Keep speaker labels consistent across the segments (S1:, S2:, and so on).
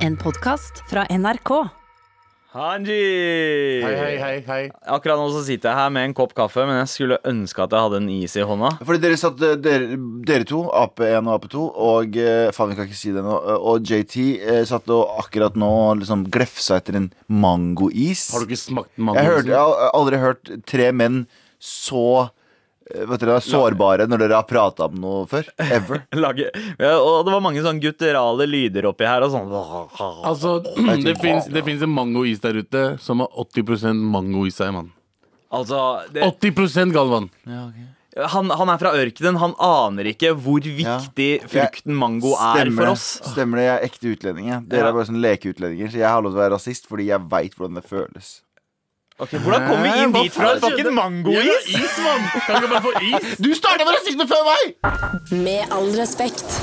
S1: En podkast fra NRK.
S2: Hanji!
S3: Hei, hei, hei, hei.
S2: Akkurat nå så sitter jeg her med en kopp kaffe, men jeg skulle ønske at jeg hadde en is i hånda.
S3: Fordi dere satt, eh, dere, dere to, AP1 og AP2, og eh, faen, vi kan ikke si det nå, eh, og JT eh, satt og akkurat nå liksom glefsa etter en mangois.
S4: Har du ikke smakt mango?
S3: Jeg, hørte, jeg har aldri hørt tre menn så eh, Vet dere, sårbare når dere har prata om noe før. Ever.
S2: Lage. Ja, og det var mange sånn gutturale lyder oppi her og sånn.
S4: Altså, det fins det finnes en mangois der ute som har 80 mango i seg, mann.
S2: Altså det,
S4: 80 Galvan!
S2: han, han er fra ørkenen. Han aner ikke hvor viktig frukten mango er for
S3: Stemmer det.
S2: oss.
S3: Stemmer det. Jeg er ekte utlending. jeg. Dere
S2: Ja.
S3: er bare sånn lekeutlendinger, så jeg har lov til å være rasist fordi jeg veit hvordan det føles.
S2: Ok, hvordan kom vi inn
S4: Hæ? Hva
S2: dit fra?
S4: faen skjedde?
S2: Fucking mangois?
S4: Is, mann! Kan ikke bare få is?
S3: Du starta med rasisme før meg!
S1: Med all respekt.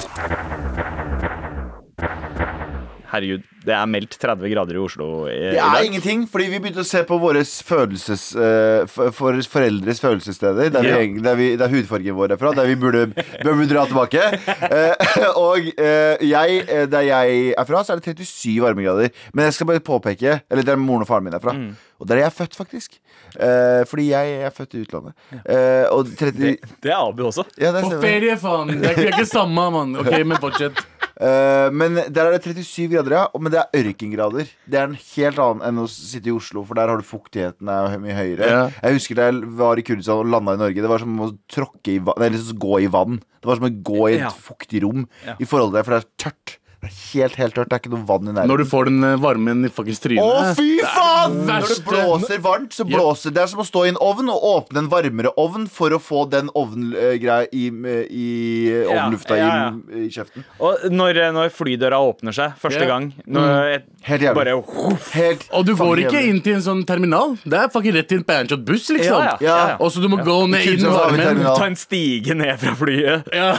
S2: Herregud, det er meldt 30 grader i Oslo i i
S3: Det er
S2: dag.
S3: ingenting, fordi vi begynte å se på våre følelses, eh, for, for foreldres følelsessteder. Der, vi,
S2: Ja.
S3: egentlig- der, vi, der hudfargen vår er fra. Der vi burde, burde dra tilbake. Eh, og eh, jeg, eh, der jeg er fra, så er det 37 varmegrader. Men jeg skal bare påpeke Eller der moren og faren min er fra.
S2: Mm.
S3: Og der er jeg født, faktisk. Eh, fordi jeg er født i utlandet. Eh, og 30
S2: Det er Abu også.
S3: ja,
S4: På
S3: der stemmer det.
S4: ferie, faen! Det er ikke, det er ikke samme, mann. Ok, men fortsett.
S3: Eh, men der er det 37 grader, ja. og- Men det er ørkengrader. Det er en helt annen enn å sitte i Oslo, for der har du fuktigheten er jo mye høyere.
S4: Ja.
S3: Jeg husker da jeg var i Kurdistan og landa i Norge, det var som å tråkke i vann, nei, liksom gå i vann. Det var som å gå i et
S2: Ja.
S3: fuktig rom
S2: Ja.
S3: i forhold til det, for det er tørt. Det er helt, helt tørt. Det er ikke noe vann i nærheten.
S4: Når du får den eh, varmen i fuckings
S3: Å,
S4: trynet.
S3: fy faen!
S4: det
S3: Når det
S4: verste.
S3: blåser varmt, så blåser det. Det er som å stå i en ovn og åpne en varmere ovn for å få den ovngreia i, eh, i
S2: Ja,
S3: ovnlufta
S2: ja,
S3: I, i kjeften.
S2: Og når, når flydøra åpner seg første
S4: Ja.
S2: gang når et,
S3: Mm. Helt jævlig.
S2: Bare
S3: Helt
S4: Og du
S3: fucking
S4: går ikke
S3: jævlig.
S4: inn til en sånn terminal. Det er fucking rett til en panchot buss, liksom.
S2: Ja, ja,
S3: ja, ja.
S4: Og så du må gå ned i
S3: Kurdistan
S4: den
S3: har vi
S4: varmen.
S3: terminal.
S2: Ta en stige ned fra flyet.
S4: Ja.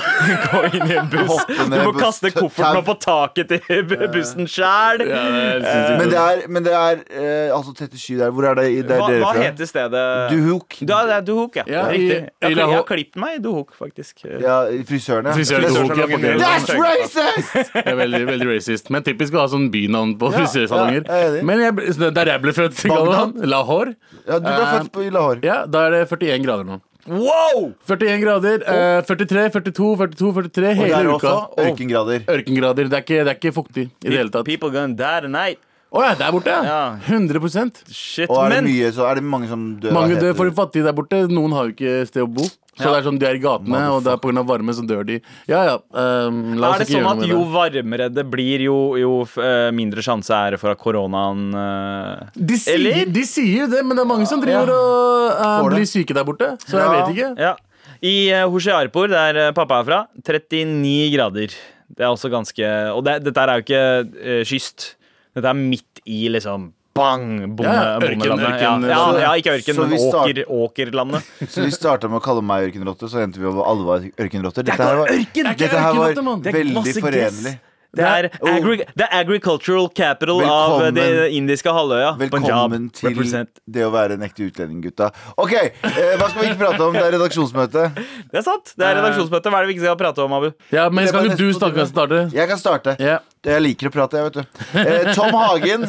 S2: Gå inn i en buss.
S3: Hoppe
S2: Du
S3: ned
S2: må
S3: buss-
S2: kaste kofferten
S3: tau.
S2: opp på taket til bu- bussen sjæl.
S4: Ja, det er sinnssykt.
S3: Men det er, men det er eh, altså 37 der. Hvor er det, i- der
S2: Hva,
S3: dere
S2: hva
S3: fra?
S2: heter stedet?
S3: Duhok.
S2: Ja, det er Duhok, ja.
S4: Ja,
S2: Riktig.
S4: i-
S2: Jeg,
S4: i La
S2: jeg har
S4: Ho-
S2: klippet meg i Duhok, faktisk.
S3: Ja, frisøren, ja.
S4: Frisøren i Duhok, ja,
S2: Frisørsalongen
S4: fucking
S2: i
S4: hell.
S2: Duhok.
S3: That's racist!
S4: Det er veldig, veldig racist. Men typisk å ha sånn bynavn på frisørsalonger.
S3: ja, jeg er enig.
S4: Men jeg, ble- så der jeg ble født, Galvan, Lahore,
S3: Ja, du ble
S4: Eh,
S3: født på i Lahore.
S4: ja, da er det 41 grader nå.
S2: Wow!
S4: 41 grader, eh, 43, 42, 42, 43
S3: Og der
S4: hele uka.
S3: også. Ørkengrader.
S4: Og Ørkengrader. Det er ikke, det er ikke fuktig i det hele tatt.
S2: People gonna die tonight.
S4: Å ja, der borte!
S2: Ja.
S4: ja. 100
S2: Shit,
S3: Og er det
S2: Eh, men
S3: mye, så er det mange som dør av
S4: Mange dør
S3: hete.
S4: for de fattige der borte. Noen har jo ikke sted å bo. Så
S2: Ja.
S4: det er sånn, De er i gatene, og det er pga. varme så dør de. Ja, ja, ehm, la
S2: er
S4: oss
S2: det sånn
S4: ikke gjøre
S2: at
S4: noe med
S2: jo
S4: det.
S2: varmere det blir, jo, jo eh, mindre sjanse er det for at koronaen eh,
S4: De sier,
S2: Eller?
S4: de sier det, men det er mange som driver
S2: Ja.
S4: og eh,
S3: Får det.
S4: blir syke der borte. Så jeg
S3: Ja.
S4: vet ikke.
S2: Ja. I eh, Hoshiarpur, der eh, pappa er fra, 39 grader. Det er også ganske Og det, dette her er jo ikke eh, kyst. Dette er midt i liksom Bang! Bonde,
S4: Ja, ørken,
S2: bondelandet.
S4: ørken-
S2: ja, ja, ja, ikke ørken,
S3: Så
S2: men
S3: vi
S2: åker,
S3: start-
S2: åkerlandet.
S3: Så vi starta med å kalle meg ørkenrotte, så endte vi over alle var ørkenrotter. Dette
S2: ikke
S3: her var,
S2: ørken, det er ikke
S3: dette her
S4: ørkenrotte, mann.
S3: var
S4: Det
S2: er
S3: veldig
S2: masse
S3: forenlig.
S2: gress. Det er,
S3: Oh.
S2: agri det er agricultural capital av eh,
S3: Velkommen.
S2: det indiske halvøya. Punjab.
S3: Velkommen til
S2: Represent.
S3: det å være en ekte utlending, gutta. Ok, eh, hva skal vi ikke prate om? Det er redaksjonsmøte.
S2: Det er sant. Det
S3: Eh,
S2: er redaksjonsmøte. Hva er det vi ikke skal prate om, Abu?
S4: Ja, men
S3: Det er
S4: skal
S3: bare
S4: ikke du
S3: nesten to
S4: snakke
S3: timer.
S4: starte?
S3: Jeg kan starte.
S4: Ja.
S3: Jeg liker å prate, jeg, vet du. Eh, Tom Hagen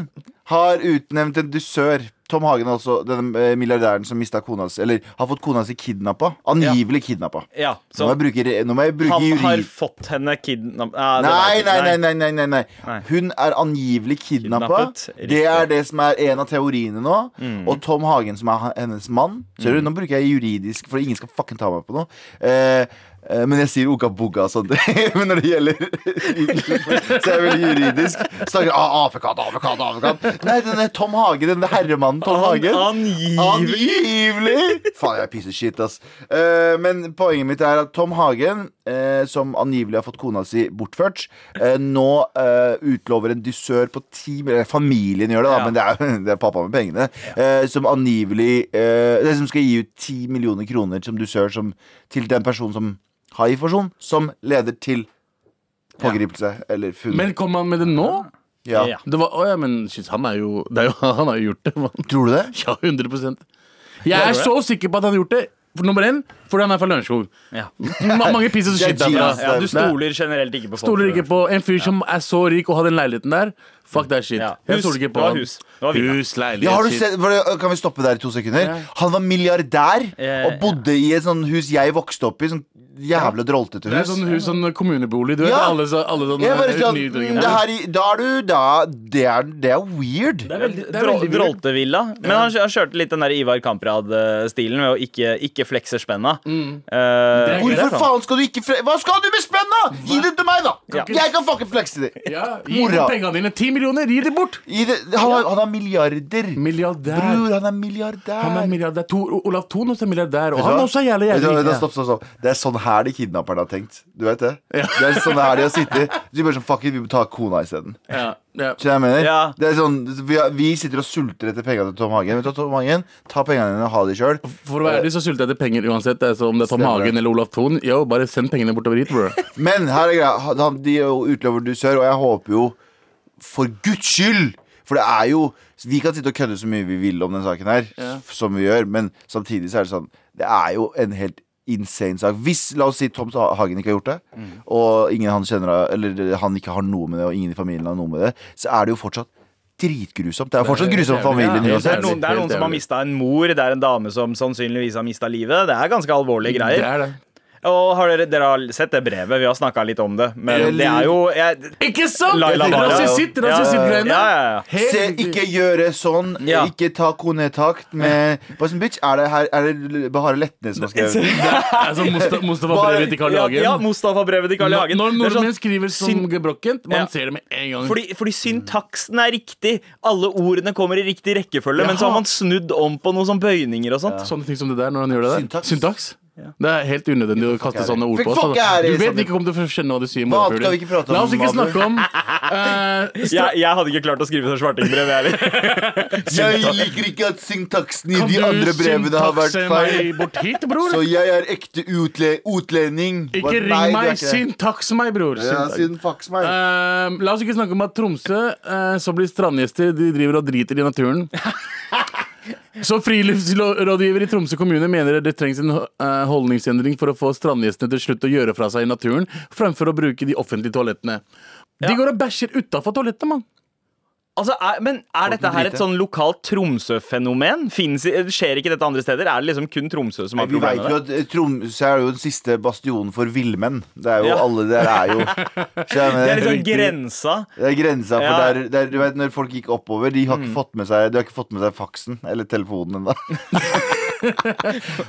S3: har utnevnt en dusør. Tom Hagen er altså den eh, milliardæren som mista kona si Eller har fått kona si kidnappa. Angivelig kidnappa.
S2: Ja,
S3: Nå
S2: så
S3: må jeg bruke, re- nå må jeg bruke
S2: han har
S3: juri...
S2: fått henne Ah, kidnappet
S3: Nei nei nei, nei, nei, nei, nei.
S2: Nei.
S3: Hun er angivelig kidnappa.
S2: Kidnappet, riktig.
S3: Det er det som er en av teoriene nå. Og Tom Hagen, som er han- hennes mann Ser du, Nå bruker jeg juridisk, for ingen skal fucking ta meg på noe. Eh, eh, men jeg sier oka boga og sånt. men når det gjelder Så er jeg veldig juridisk. Snakker ah, apekatt, apekatt, apekatt. Nei, denne Tom Hagen, denne herremannen Tom Hagen.
S2: Angivelig.
S3: Angivelig! Faen, jeg er piece of shit, ass. Eh, men poenget mitt er at Tom Hagen, eh, som angivelig har fått kona si bortført, eh, nå eh, utlover en dusør på ti mil- eller Familien gjør det, da,
S2: Ja.
S3: men det er, det er pappa med pengene. Eh, som angivelig eh, Det som skal gi ut ti millioner kroner som dusør som, til den personen som har informasjon, som leder til pågripelse eller funn.
S4: Men kom han med det nå?
S3: ja.
S2: Ja.
S4: Det var, å ja, men shit, han er jo, det er jo Han har jo gjort det, mann.
S3: Tror du det?
S4: Ja, 100 Jeg er så sikker på at han har gjort det. for nummer én fordi han er fra Lørenskog.
S2: Ja.
S4: Ma- Mange pieces of
S3: Det er
S4: shit derfra.
S3: genius,
S2: Ja, du
S4: Det-
S2: stoler generelt ikke på folk.
S4: Stoler ikke på en fyr som er så rik og har den leiligheten der. Fuck that shit.
S2: Ja.
S4: Jeg
S2: Hus.
S4: stoler ikke på
S2: Det var
S4: han.
S2: hus. Det var villa.
S4: Hus, leilighet,
S3: Ja, har du
S4: shit.
S3: sett, var det, øh, kan vi stoppe der i to sekunder?
S4: Ja.
S3: Han var milliardær
S2: ja,
S3: og bodde i et sånt hus jeg vokste opp i. Sånn jævla
S4: Det
S3: drolltete
S4: er
S3: hus.
S4: sånn hus, sånn kommunebolig. Du vet,
S3: Ja.
S4: alle, så, alle sånne
S3: Jeg bare sånn,
S4: nyutlendinger.
S3: det her, i- da er du da, det, er, det er weird.
S2: Det er veldig,
S4: det er veldig
S2: Dro-
S4: weird.
S2: Droltevilla. Men han, han kjørte litt den der Ivar Kamprad-stilen ved å ikke, ikke flekse spenna.
S4: Mm.
S2: Eh,
S4: Det er
S3: Hvorfor faen skal du ikke fre Hva skal du med spenn, da?! Gi det til meg, da!
S2: Ja.
S3: Jeg kan fucking flexe det.
S4: Ja, gi
S3: Mora.
S4: bort pengene dine. Ti millioner, gi dem bort!
S3: Gi det han, har- han er milliarder.
S4: Milliardær.
S3: Bror, han er milliardær.
S4: Han er milliardær. Tor, Olav Thon også er milliardær, og
S3: Vet du
S4: han
S3: hva?
S4: også er jævlig
S3: Vet du hva,
S4: jævlig
S3: vet du hva,
S4: rik.
S3: Stopp, stopp, stopp. Det er sånn her de kidnapperne har tenkt. Du vet det? Det er sånn her de har sittet. De bare sånn, fuck it, vi må ta kona isteden.
S4: Ja, ja.
S3: Skjønner du hva jeg mener?
S2: Ja.
S3: Det er sånn, vi, har- vi sitter og sulter etter pengene til Tom Hagen. Vet du hva, Tom Hagen, Ta pengene dine og ha de sjøl.
S4: For å være ærlig så sulter jeg etter penger uansett. Altså, om det er Tom
S3: Stemmer.
S4: Hagen eller Olav Thon. Yo, bare send pengene bortover hit, bro.
S3: Men her er greia. Han- han- De utlover du sør, og jeg håper jo For guds skyld! For det er jo Vi kan sitte og kødde så mye vi vil om den saken her,
S4: Ja.
S3: som vi gjør, men samtidig så er det sånn Det er jo en helt insane sak. Hvis, la oss si, Tom Ha- Hagen ikke har gjort det,
S4: Mm.
S3: og ingen han kjenner Eller han ikke har noe med det, og ingen i familien har noe med det, så er det jo fortsatt dritgrusomt. Det er fortsatt
S4: helt
S3: grusomt for
S4: jævlig.
S3: familien
S4: Ja, helt
S2: Det er
S3: uansett.
S2: noen, det er noen som har mista en mor, det er en dame som sannsynligvis har mista livet. Det er ganske alvorlige
S4: Mm, Det
S2: greier.
S4: er det.
S2: Og har dere, dere har sett det brevet, vi har snakka litt om det. Men det er jo jeg,
S4: Ikke sant?
S2: Laila Mara.
S4: Rasisitt,
S2: Ja, ja,
S4: rasisitt-greiene.
S2: ja, ja.
S4: Helt
S3: Se,
S4: riktig.
S3: ikke gjøre sånn.
S2: Ja.
S3: Ikke ta konetakt med Bare sånn, bitch, er det, her, er det Bahare Letnes som har skrevet
S4: Altså, Musta- Mustafa
S3: Bare-
S4: Brevet til Karl
S2: Ja,
S4: Hagen.
S2: ja Mustafa-brevet til Karl
S4: Når
S2: Hagen.
S4: når
S2: Det er sånn-
S4: nordmenn skriver som
S2: syn-
S4: gebrokkent, man
S2: Ja.
S4: ser det med en gang.
S2: fordi, fordi syntaksen er riktig. Alle ordene kommer i riktig rekkefølge. Men så har
S4: Jaha.
S2: man snudd om på noen sånn bøyninger og sånt.
S4: Sånne ting som det der, når han gjør det der.
S3: Syntaks.
S4: Det er helt unødvendig å kaste sånne ord på
S3: Fuck
S4: oss. altså.
S3: er det,
S4: Du vet
S3: Sander.
S4: ikke om du får skjønne hva de sier.
S3: Hva
S4: morapuler.
S3: skal vi ikke prate om,
S4: La oss ikke
S3: Mabel?
S4: snakke om eh, stra-
S2: Jeg, jeg hadde ikke klart å skrive sånn svarting-brev, jeg heller.
S3: Jeg liker ikke at syntaksen i
S4: Kan
S3: de
S4: du
S3: andre brevene har vært
S4: syntakse
S3: feil.
S4: meg bort hit, bror?
S3: Så jeg er ekte utle utlending. Hva-
S4: Ikke ring
S3: Nei, det er
S4: meg,
S3: ikke det.
S4: syntaks meg, bror.
S3: Ja,
S4: Syntaks.
S3: synfaks meg.
S4: Eh, la oss ikke snakke om at Tromsø, eh, som blir strandgjester, de driver og driter i naturen. Så friluftsrådgiver i Tromsø kommune mener det trengs en eh, holdningsendring for å få strandgjestene til slutt å gjøre fra seg i naturen, fremfor å bruke de offentlige toalettene. De går og bæsjer utafor toalettene, mann.
S2: Altså, er, men er dette her et
S3: drite.
S2: sånn lokalt Tromsø-fenomen? Finnes i- Skjer ikke dette andre steder? Er det liksom kun Tromsø som har
S3: Vi vet
S2: problemer
S3: jo
S2: med det?
S3: at eh, Tromsø er jo den siste bastionen for villmenn. Det er jo
S2: Ja.
S3: alle der er jo Skjønner
S2: Det er
S3: jeg
S2: liksom
S3: mener?
S2: grensa.
S3: Det er grensa for
S2: Ja. Mm.
S3: der, der, du vet, Når folk gikk oppover, de har ikke fått med seg De har ikke fått med seg faksen eller telefonen ennå.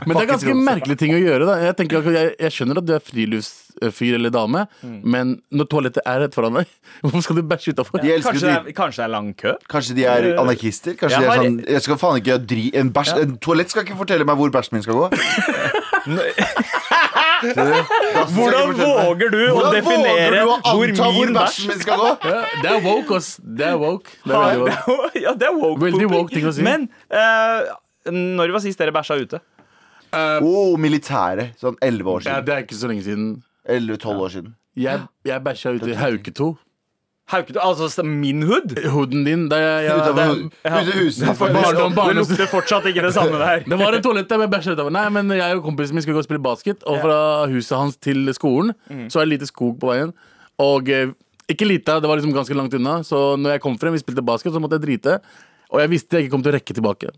S4: Men det er ganske
S3: Tromsø.
S4: merkelige ting å gjøre. da Jeg, tenker, akkurat- jeg, jeg skjønner at du er friluftsfyr eller -dame, men når toalettet er rett foran deg, hvorfor skal du bæsje utafor?
S3: De elsker
S2: Kanskje det,
S3: å
S2: er, kanskje det er lang kø?
S3: Kanskje de er anarkister?
S2: Eh,
S3: Kanskje
S2: Jeg
S3: de er
S2: har-
S3: sånn Jeg skal faen ikke dri En, bæsj, en toalett skal ikke fortelle meg hvor bæsjen min skal gå.
S2: Hvordan våger du å
S3: Hvordan våger
S2: definere
S3: du å
S2: hvor
S3: anta hvor
S2: min bæsj
S3: bæsjen min skal gå?
S4: Ja, det er woke, ass. Det er woke. Det
S2: Ja, det
S4: er veldig woke.
S2: er jo- Ja, det er woke
S4: Veldig
S2: pooping.
S4: woke ting å si.
S2: Men eh, når var sist dere bæsja ute?
S3: Oh, militæret. Sånn 11
S4: Ja,
S3: år siden.
S4: det er ikke så lenge siden.
S3: 11-12 år siden.
S4: Jeg, jeg bæsja ute i Hauketo.
S2: Hauketo? Altså min hood?
S4: Huden din. Det, er- jeg, det,
S3: Utenfor
S4: er-
S2: ja.
S3: ute i huset.
S4: Barndom.
S2: Det lukter fortsatt ikke det samme der.
S4: det var et toalett der jeg bæsja utover. Nei, men jeg og kompisen min skulle gå og spille basket, og fra huset hans til skolen
S3: Mm.
S4: så er det lite skog på veien. Og eh, ikke lite, det var liksom ganske langt unna, så når jeg kom frem, vi spilte basket, så måtte jeg drite. Og jeg visste jeg ikke kom til å rekke tilbake.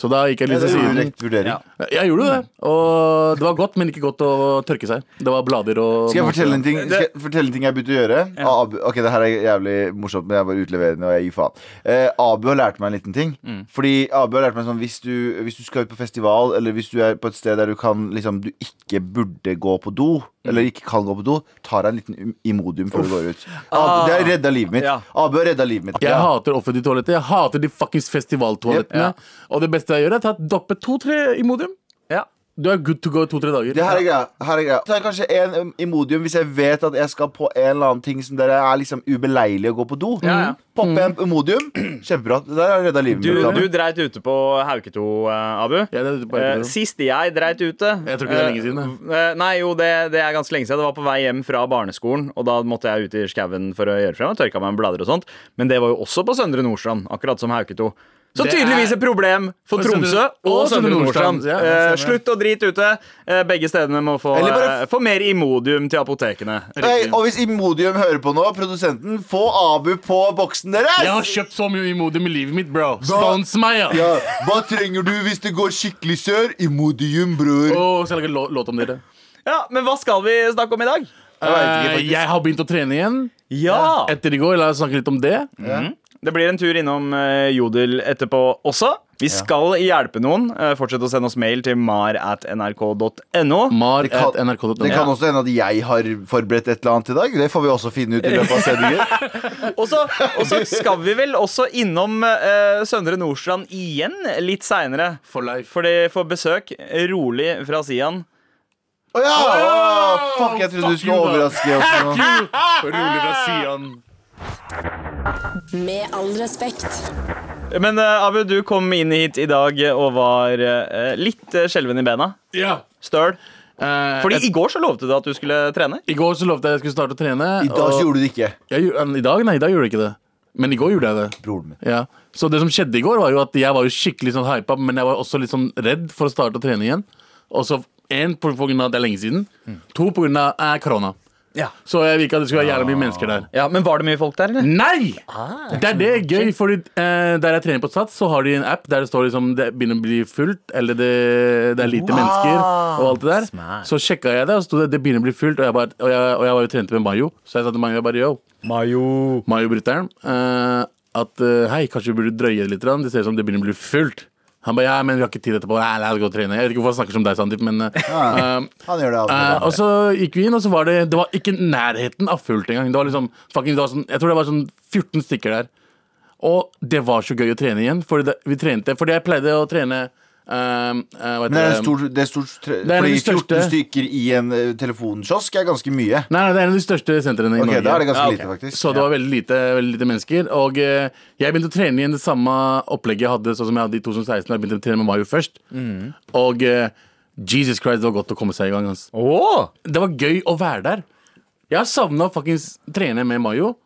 S4: Så da gikk jeg
S3: Ja,
S4: litt
S3: det
S4: til
S3: er jo
S4: siden.
S3: rett vurdering.
S2: Ja.
S4: Jeg gjorde det, og det var godt, men ikke godt å tørke seg. Det var blader og
S3: Skal jeg fortelle en ting Skal jeg fortelle en ting jeg begynte å gjøre? Abu, ok, det her er jævlig morsomt, men jeg bare utleverer den, og jeg gir faen. Eh, Abu har lært meg en liten ting. Fordi Abu har lært meg sånn hvis du, hvis du skal ut på festival, eller hvis du er på et sted der du kan liksom Du ikke burde gå på do, eller ikke kan gå på do, tar deg en liten Imodium før du går ut. Abu, det har redda livet mitt.
S2: Ja.
S3: Abu har redda livet mitt.
S4: Jeg hater offentlige toaletter. Jeg hater de fuckings festivaltoalettene. Og det beste jeg gjør, er å ta doppe to-tre Imodium.
S2: Ja.
S4: Du er good to go i to-tre dager.
S3: Det her er greia. Her er greia. Tar jeg kanskje en um, Imodium hvis jeg vet at jeg skal på en eller annen ting som dere er liksom ubeleilig å gå på do.
S2: Ja, ja.
S3: Poppe en Imodium. Kjempebra. Det der har redda livet
S2: Du,
S3: mitt. Abu.
S2: du dreit ute på Hauketo, eh, Abu.
S4: Jeg er ute på Hauketo.
S2: Eh, sist jeg dreit ute
S4: Jeg tror ikke det er lenge siden,
S2: eh, Nei, jo, det, det er ganske lenge siden. Det var på vei hjem fra barneskolen, og da måtte jeg ut i skauen for å gjøre frem. og Tørka meg med blader og sånt. Men det var jo også på Søndre Nordstrand, akkurat som Hauketo. Så
S4: Det er-
S2: tydeligvis et problem for
S4: Og
S2: Tromsø
S4: Søndre-
S2: og
S4: og
S2: Søndre
S4: Søndre
S2: Nordstrand.
S4: Nordstrand. Ja,
S2: Eh,
S4: stemmer.
S2: slutt å drite ute. Eh, begge stedene må få,
S3: Eller bare-
S2: eh, få mer Imodium til apotekene.
S3: Hey, og hvis Imodium hører på nå, produsenten, få Abu på boksen deres!
S4: Jeg har kjøpt så mye Imodium i livet mitt, bro. Spons meg, ja.
S3: Ja, Hva trenger du hvis det går skikkelig sør? Imodium, bror.
S4: Og skal jeg lage lå- låt om dere.
S2: Ja, Men hva skal vi snakke om i dag?
S3: Jeg vet ikke,
S4: Eh,
S3: faktisk.
S4: jeg har begynt å trene igjen.
S2: Ja!
S4: Etter i går, la oss snakke litt om det.
S2: Det blir en tur innom eh, Jodel etterpå også. Vi skal hjelpe noen. Eh, fortsett å sende oss mail til mar at nrk.no.
S4: Mar
S3: Det kan-
S4: at nrk.no.
S3: Det kan også hende at jeg har forberedt et eller annet i dag. Det får vi også finne ut i løpet av sendingen.
S2: Og så og så skal vi vel også innom eh, Søndre Nordstrand igjen litt seinere.
S4: For life.
S2: For de får besøk eh, rolig fra Sian.
S3: Å ja! Å, fuck, jeg trodde
S4: Fuck
S3: du skulle
S4: you, da.
S3: overraske oss nå.
S4: Rolig fra Sian.
S1: Med all respekt.
S2: Men eh, Abu, du kom inn hit i dag og var eh, litt eh, skjelven i bena.
S4: Ja.
S2: Støl.
S4: Eh,
S2: Fordi
S4: et,
S2: i går så lovte du at du skulle trene.
S4: I går så lovte jeg at jeg skulle starte å trene.
S3: I dag så
S4: og,
S3: gjorde du det ikke.
S4: jeg, gjorde- I dag? Nei, i dag gjorde jeg ikke det. Men i går gjorde jeg det.
S3: Broren min.
S4: Ja. Så det som skjedde i går, var jo at jeg var jo skikkelig sånn hypa, men jeg var også litt sånn redd for å starte å trene igjen. Og så én på på grunn av at det er lenge siden.
S3: Mm.
S4: To på grunn av eh, korona.
S2: Ja.
S4: Så jeg vil ikke at det skulle være jævla mye mennesker der.
S2: ja, Men var det mye folk der, eller?
S4: Nei! Det er det gøy, fordi eh, der jeg trener på Sats, så har de en app der det står liksom det begynner å bli fullt, eller det, det er lite mennesker, og alt det der.
S2: Smart.
S4: Så sjekka jeg det, og så sto det det begynner å bli fullt, og jeg, bare, og jeg, og jeg var jo trente med Mayo, så jeg sa til Mayo jeg bare yo,
S2: Mayo.
S4: Mayo-bryteren, eh, at eh, hei, kanskje vi burde drøye det litt, grann. det ser ut som det begynner å bli fullt. Han bare ja, men vi har ikke tid etterpå. Nei, la oss gå og trene. Jeg vet ikke hvorfor han snakker som deg, Sandeep, men eh, eh,
S3: Han gjør det av og
S4: Eh,
S3: til.
S4: og så gikk vi inn, og så var det Det var ikke nærheten av fullt engang. Det var liksom, fucking, det var sånn, jeg tror det var sånn 14 stykker der. Og det var så gøy å trene igjen. Fordi det, vi trente, fordi jeg pleide å trene eh, eh, hva heter
S3: Men det er
S4: det?
S3: en stor, det er stort tre-
S4: er en av de
S3: Fordi 14
S4: største-
S3: stykker i en eh, telefonkiosk er ganske mye.
S4: Nei, nei, det er en av de største sentrene i
S3: Ok,
S4: Norge.
S3: Da er det ganske
S2: Ja, ok.
S3: lite, faktisk.
S4: Så det var veldig lite, veldig lite mennesker. Og eh, jeg begynte å trene igjen det samme opplegget jeg hadde Sånn som jeg hadde i 2016. da Jeg begynte å trene med Mayo først.
S3: Mm.
S4: Og eh, Jesus Christ, det var godt å komme seg i gang. Altså. Det var gøy å være der. Jeg har savna å fuckings trene med Mayo.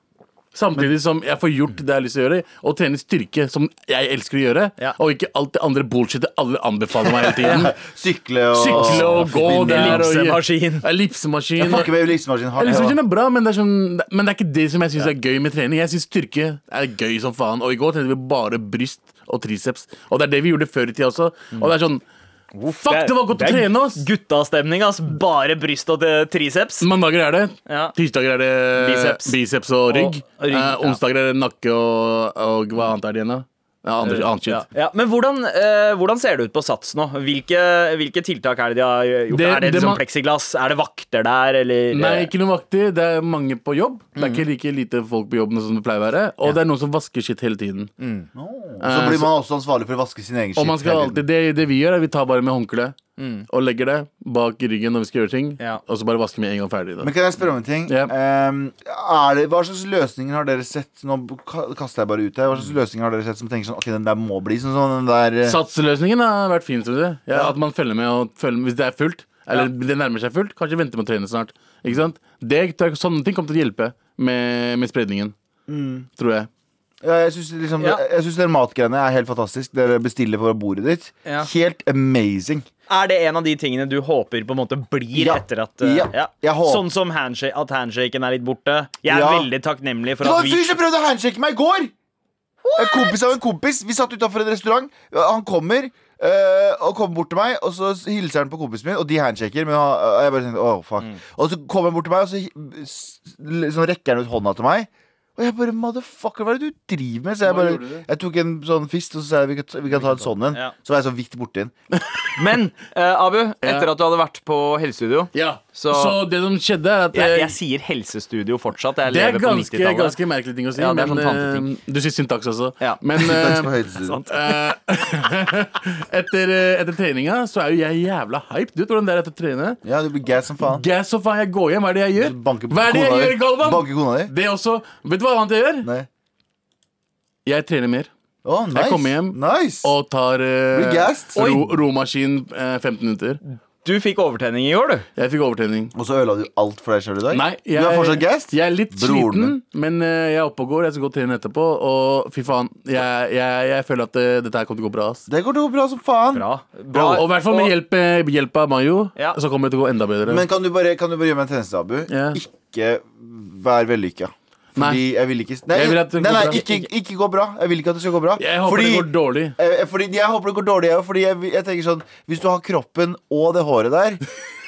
S4: Samtidig som jeg får gjort det jeg har lyst til å gjøre, og trene styrke, som jeg elsker å gjøre.
S2: Ja.
S4: Og ikke alt det andre bullshitet alle anbefaler meg hele tiden.
S3: Sykle og
S4: Sykle og gå der og
S2: Ellipsemaskin.
S3: Jeg
S4: Ellipsemaskin.
S3: fucker med ellipsemaskin hardt. jeg,
S4: Ellipsemaskin
S3: da.
S4: er bra, men det er, sånn, men det er ikke det som jeg syns er gøy med trening. Jeg syns styrke er gøy som faen. Og i går trente vi bare bryst og triceps. Og det er det vi gjorde før i tida også. Og det er sånn Fuck, det var godt å
S2: er
S4: trene, ass!
S2: Guttastemning, ass. Bare bryst og eh, triceps.
S4: Mandager er det.
S2: Ja.
S4: Tirsdager er det
S2: Biceps.
S4: biceps og rygg.
S2: Og rygg,
S4: Eh,
S2: ja.
S4: onsdager er det nakke og, og hva annet er det igjen, da? Ja, andre, annet shit.
S2: Eh, Ja. Ja, men hvordan, eh, hvordan ser det ut på Sats nå? Hvilke, hvilke tiltak er det de har gjort?
S4: Det-
S2: er det
S4: det
S2: liksom
S4: man-
S2: plexiglass? Er det vakter der, eller eh, Mm.
S4: Nei, ikke noe vakter. Det er mange på jobb. Det er ikke like lite folk på jobben som det pleier å være. Og det er noen som vasker shit hele tiden.
S2: Mm.
S3: Så blir man også ansvarlig for å vaske sin egen
S4: Og man
S3: skitt.
S4: skal
S3: hele tiden.
S4: alltid, det, det vi gjør, er vi tar bare med håndkle og legger det bak ryggen når vi skal gjøre ting.
S2: Mm. Ja.
S4: Og så bare vasker vi en gang ferdig. Da.
S3: Men kan jeg spørre om en ting?
S4: Ja.
S3: Ehm, er det, hva slags løsninger har dere sett Nå ka- kaster jeg bare ut her. Hva slags løsninger har dere sett som tenker sånn Ok, den der må bli sånn, sånn den der eh,
S4: Satsløsningen har vært fin, tror jeg. Ja, At man følger med, og følger med hvis det er fullt. Eller det nærmer seg fullt. Kanskje vente med å trene snart. Ikke sant? Det, sånne ting kommer til å hjelpe med, med spredningen.
S2: Mm.
S4: Tror jeg.
S3: Ja, jeg syns liksom,
S2: Ja.
S3: jeg synes den matgreiene er helt fantastisk. Dere bestiller på bordet ditt.
S2: Ja.
S3: Helt amazing.
S2: Er det en av de tingene du håper på en måte blir
S3: Ja.
S2: etter at eh,
S3: Ja. Jeg håper-
S2: Sånn som handshake, at handshaken er litt borte. Jeg er
S3: Ja.
S2: veldig takknemlig
S3: Det
S2: for
S3: var
S2: at
S3: en
S2: vi
S3: fyr som prøvde å handshake meg i går! En kompis av en kompis. Vi satt utafor en restaurant. Han kommer eh, og kommer bort til meg, og så hilser han på kompisen min, og de handshaker. Men han, og jeg bare tenkte, åh, fuck
S2: Mm.
S3: Og så kommer han bort til meg, og så, hi- s- liksom rekker han ut hånda til meg. Og jeg bare Motherfucker, hva er det du driver med? Så jeg
S4: Hva
S3: bare
S4: gjorde du?
S3: Jeg tok en sånn fist, og så sa jeg vi kan, ta- vi kan ta en sånn en.
S2: Ja.
S3: Så var jeg så vidt borti den.
S2: Men eh, Abu, etter at du hadde vært på helsestudio
S4: Ja.
S2: Så-
S4: Så, det som skjedde, er at
S2: jeg,
S4: eh,
S2: jeg sier helsestudio fortsatt. Jeg
S4: Det er
S2: lever på
S4: ganske,
S2: 90-tallet.
S4: ganske merkelig ting å si.
S2: Ja, det er
S4: men,
S2: sånn tanteting.
S4: eh, du sier syntaks også.
S2: Ja.
S4: Men eh,
S3: Takk for høydestudio.
S4: etter, eh, etter treninga så er jo jeg jævla hyped. Du vet hvordan det er etter å trene?
S3: Ja, du blir gass som faen.
S4: Gass og faen, jeg går hjem. Hva er det jeg gjør?
S3: Banke
S4: Hva er det jeg
S3: kona
S4: gjør,
S3: di.
S4: Galvan?
S3: Banke kona di?
S4: Det også. Vet du hva annet jeg gjør?
S3: Nei.
S4: Jeg trener mer.
S3: Å, nice.
S4: kommer hjem,
S3: Nice.
S4: Og tar eh,
S3: Blir gassed?
S4: ro, romaskin eh, 15 minutter.
S2: Du fikk overtenning i går, du.
S4: Jeg fikk overtenning.
S3: Og så ødela du alt for deg sjøl i dag?
S4: Nei, jeg,
S3: du er fortsatt gassed?
S4: jeg er litt
S3: Broren
S4: sliten,
S3: min.
S4: men eh, jeg er oppe og går. Jeg skal gå og trene etterpå. Og fy faen, jeg, jeg, jeg føler at eh, dette her kommer til å gå bra. Ass.
S3: Det går til å gå bra som faen.
S2: Bra.
S4: Og og i hvert fall med hjelp, eh, hjelp av Mayo,
S2: Ja.
S4: så kommer det til å gå enda bedre.
S3: Men kan du bare, kan du bare gjøre meg en tjeneste, Abu?
S4: Ja.
S3: Ikke vær vellykka. Fordi
S4: Nei.
S3: jeg vil ikke Nei,
S4: Jeg vil at det
S3: nei,
S4: går
S3: nei
S4: bra.
S3: ikke, ikke gå bra. Jeg vil ikke at det skal gå bra.
S4: jeg håper
S3: fordi,
S4: det går dårlig.
S3: eh, fordi Jeg håper det går dårlig, jeg òg. Fordi jeg, jeg tenker sånn Hvis du har kroppen og det håret der,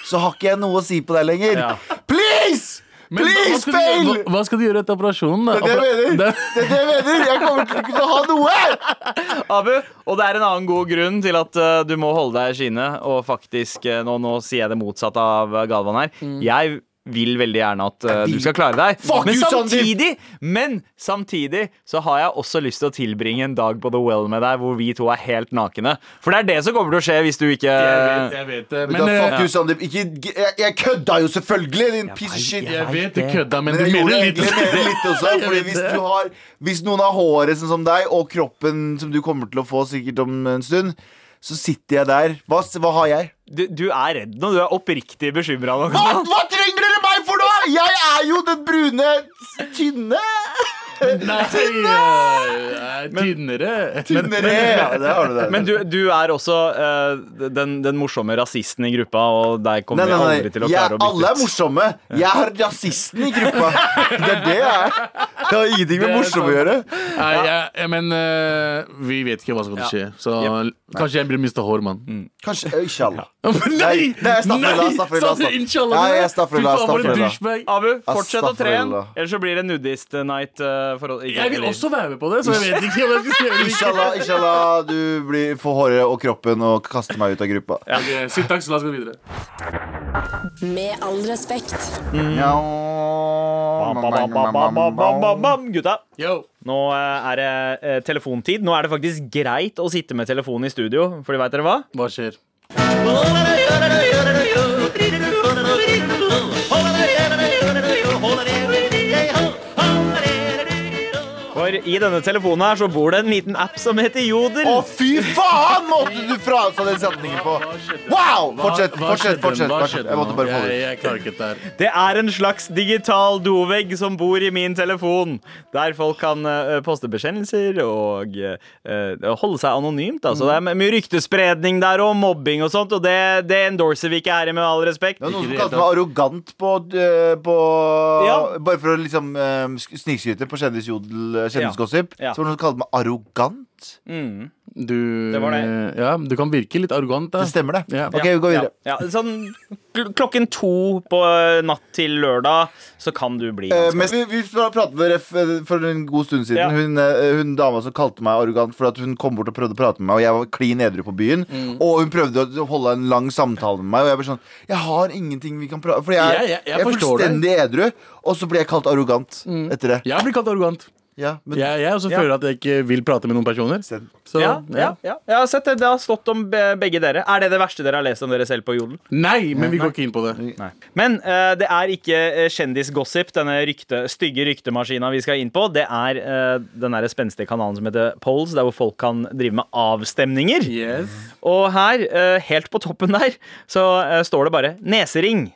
S3: så har ikke jeg noe å si på deg lenger.
S2: Ja.
S3: Please!
S4: Men hva- hva
S3: Please,
S4: skal du-
S3: fail!
S4: Hva, hva skal du gjøre etter operasjonen? da?
S3: Det er det jeg
S4: Opera-
S3: mener. Det er det jeg mener. Jeg kommer til ikke til å ha noe!
S2: Abu, og det er en annen god grunn til at eh, du må holde deg i skinnet. Og faktisk, eh, nå, nå sier jeg det motsatte av eh, Galvan her.
S4: Mm.
S2: Jeg vil veldig gjerne at eh, du skal klare deg.
S3: Fuck
S2: men,
S3: you,
S2: samtidig, men samtidig så har jeg også lyst til å tilbringe en dag på The Well med deg, hvor vi to er helt nakne. For det er det som kommer til å skje hvis du ikke
S4: Jeg vet, jeg vet det.
S3: Men,
S4: Men eh,
S3: fuck you, Sandeep. Ikke, jeg, jeg kødda jo selvfølgelig, din piece of shit.
S4: jeg vet det kødda, men
S3: Men
S4: du
S3: jeg
S4: mener
S3: gjorde
S4: litt
S3: egentlig mener litt også
S4: Jeg
S3: Fordi
S4: vet
S3: hvis,
S4: det.
S3: du har, hvis noen har håret sånn som deg Og kroppen som du kommer til å få sikkert om en stund Så sitter jeg der Hva, hva har jeg?
S2: Du, du er redd nå. Du er oppriktig bekymra nå.
S3: Hva, hva trenger dere meg for nå? Jeg er jo den brune, tynne
S4: Nei, eh, tynnere. Men
S3: Tynnere Ja, det har du der
S2: Men du, du er også eh, den, den morsomme rasisten i gruppa, og deg
S3: Nei,
S2: kommer
S3: nei,
S2: jeg
S3: nei.
S2: aldri til å
S3: Jeg,
S2: klare å
S3: alle
S2: bytte
S3: er
S2: ut.
S3: morsomme Jeg har rasisten i gruppa Det er det jeg er Det har ingenting
S4: Det
S3: med
S4: er
S3: morsom å
S4: sant.
S3: gjøre
S4: Nei, jeg, jeg, men eh, vi vet ikke hva som kommer til å skje. Så kanskje jeg blir mista hår, mann.
S3: Kanskje, øh, inshallah
S4: nei!
S3: Nei, nei,
S4: Sa du
S3: staffrullah, staffrullah, staffrullah.
S4: inshallah?
S3: Nei, jeg staffrullah,
S4: Fy faen, for en
S3: staffrullah.
S4: douchebag.
S2: Abu, fortsett å trene,
S3: Astaghfirullah.
S2: ellers så blir det eh, nudist-night.
S4: Jeg vil også være med på det, så jeg vet ikke om jeg skal gjøre det.
S3: Inshallah, inshallah Du blir, får håret og kroppen Og kaster meg ut av gruppa
S4: Ok, Si takk, så la oss gå videre.
S1: Med all respekt.
S2: Gutta,
S4: Yo.
S2: nå eh, er det eh, telefontid. Nå er det faktisk greit å sitte med telefonen i studio, for veit dere hva?
S4: Hva skjer?
S2: For i denne telefonen her så bor det en liten app som heter Jodel.
S3: Å, fy faen! Måtte du frasa den setningen på? Wow! Fortsett,
S4: Hva- hva
S3: fortsett.
S4: skjedde?
S3: fortsett,
S4: Hva
S3: fortsett.
S4: skjedde
S3: Jeg måtte
S4: nå?
S3: bare få
S4: Jeg,
S3: det ut.
S4: jeg klarer ikke dette her.
S2: Det er en slags digital dovegg som bor i min telefon, der folk kan eh, poste bekjennelser og eh, holde seg anonymt. Altså. Det er mye ryktespredning der og mobbing og sånt, og det, det endorser vi ikke her, med all respekt.
S3: Det var noen
S4: Ikke
S3: som
S4: det
S3: kalte
S4: hele
S3: meg arrogant på, eh, på
S2: Ja.
S3: Bare for å liksom eh, sk- snikskryte på kjendisjodel, eh, kjendisgossip.
S2: Ja. Ja.
S3: Så var det noen som kalte meg arrogant.
S2: Mm.
S4: Du,
S2: Det var det.
S4: Ja, du kan virke litt arrogant, da.
S3: Det stemmer, det.
S4: Ja.
S3: OK, vi går videre.
S2: Ja, ja. Sånn kl- klokken to på eh, natt til lørdag så kan du bli
S3: Eh,
S2: ganske
S3: men vi, vi pratet med Ref eh, for en god stund siden.
S2: Ja.
S3: Hun, eh, hun dama som kalte meg arrogant for at hun kom bort og prøvde å prate med meg, og jeg var klin edru på byen. Og hun prøvde å holde en lang samtale med meg, og jeg ble sånn Jeg har ingenting vi kan prate For jeg, er-
S4: Jeg- jeg- jeg
S3: jeg er
S4: forstår det.
S3: fullstendig edru, og så ble jeg kalt arrogant etter det.
S4: Jeg blir kalt arrogant.
S3: Ja, men
S4: Jeg, jeg også føler at jeg ikke vil prate med noen personer.
S3: Send.
S4: Så,
S2: ja, ja, ja. Jeg har sett det. Det har stått om be- begge dere. Er det det verste dere har lest om dere selv på Jodel?
S4: Nei, men vi går ikke inn på det.
S2: Men eh, det er ikke eh, kjendisgossip, denne rykte, stygge ryktemaskina vi skal inn på. Det er eh, den derre spenstige kanalen som heter Polls, der hvor folk kan drive med avstemninger.
S4: Yes.
S2: Og her, eh, helt på toppen der, så eh, står det bare 'nesering'.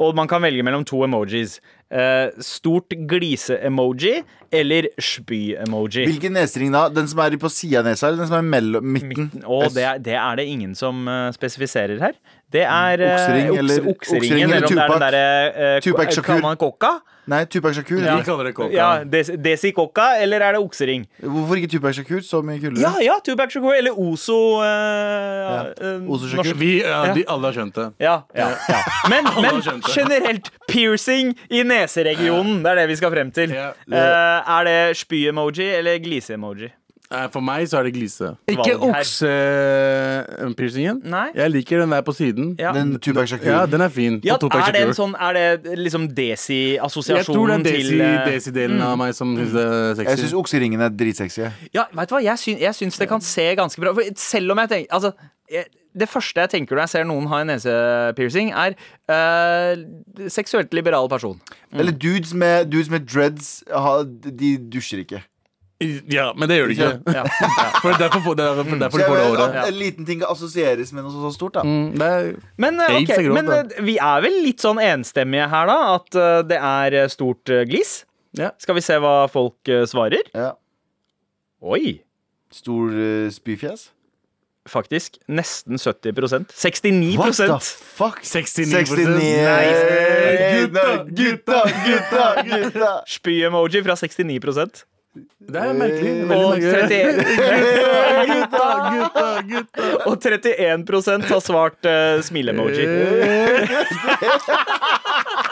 S2: Og man kan velge mellom to emojis. Eh, stort glise-emoji eller spy-emoji.
S3: Hvilken nesering da? Den som er på sida av nesa, eller den som er mellom midten?
S2: Og det, er- det er det ingen som eh, spesifiserer her. Det er eh,
S3: Oksering
S2: okse-
S3: eller- oksering
S2: okseringen, eller om det er
S3: eller
S2: den derre eh,
S3: Tupac Shakur.
S2: Kaman Kokka.
S3: Nei, Tupac Shakur.
S4: Vi kaller det coca.
S2: Ja, des, Desi Kokka, eller er det oksering?
S3: Hvorfor ikke Tupac Shakur? Så mye kulere.
S2: Ja, ja, Tupac Shakur, eller Ozo eh, eh,
S3: Ozo Shakur.
S2: norsk-
S4: Vi, ja, de, alle har skjønt det.
S2: Ja, ja, ja. Men, men
S4: skjønte.
S2: generelt piercing i neseregionen, det er det vi skal frem til.
S4: Ja.
S2: Eh, er det spy-emoji eller glise-emoji?
S4: Eh, For meg så er det glise.
S2: Valg
S4: Ikke
S2: her.
S4: oksepiercingen.
S2: Nei.
S4: Jeg liker den der på siden.
S2: Ja.
S3: Den Tupac Shakur.
S4: Ja, den er fin.
S2: Ja,
S4: på Tupac
S2: er det en
S4: Shakur.
S2: sånn Er det liksom
S4: jeg tror det
S2: Desi-assosiasjonen
S4: er
S2: til eh,
S4: Desi-delen av meg som syns det er sexy.
S3: Jeg syns okseringene er dritsexy.
S2: Ja, vet du hva? Jeg, syn, jeg syns det kan se ganske bra For Selv om jeg tenker Altså, jeg, det første jeg tenker når jeg ser noen ha en nesepiercing, er eh,
S3: Mm.
S2: seksuelt liberal person.
S3: Eller dudes med, dudes med dreads, ha, de dusjer ikke.
S4: Ja, men det gjør det ikke. Ja. For derfor, får- det er derfor, derfor du
S3: Så jeg
S4: får det
S3: vet
S4: året.
S3: at en liten ting kan assosieres med noe så, så stort. da
S4: Mm, Det er,
S2: Men, eh, ok,
S4: Aids er grovt,
S2: men
S4: da.
S2: eh, vi er vel litt sånn enstemmige her, da? At eh, det er eh, stort eh, glis?
S4: Ja.
S2: Skal vi se hva folk eh, svarer?
S3: ja.
S2: Oi!
S3: Stor eh, spyfjes.
S2: Faktisk nesten 70
S3: What the
S2: 69
S3: fuck?
S4: 69,
S3: 69
S4: Nei,
S3: Gutta, gutta, gutta! gutta
S2: Spy-emoji fra 69
S4: det er merkelig.
S2: Og
S4: Veldig merkelig.
S2: 31,
S4: Eh, Gutta, gutta, gutta.
S2: og 31 har svart uh, smile-emoji.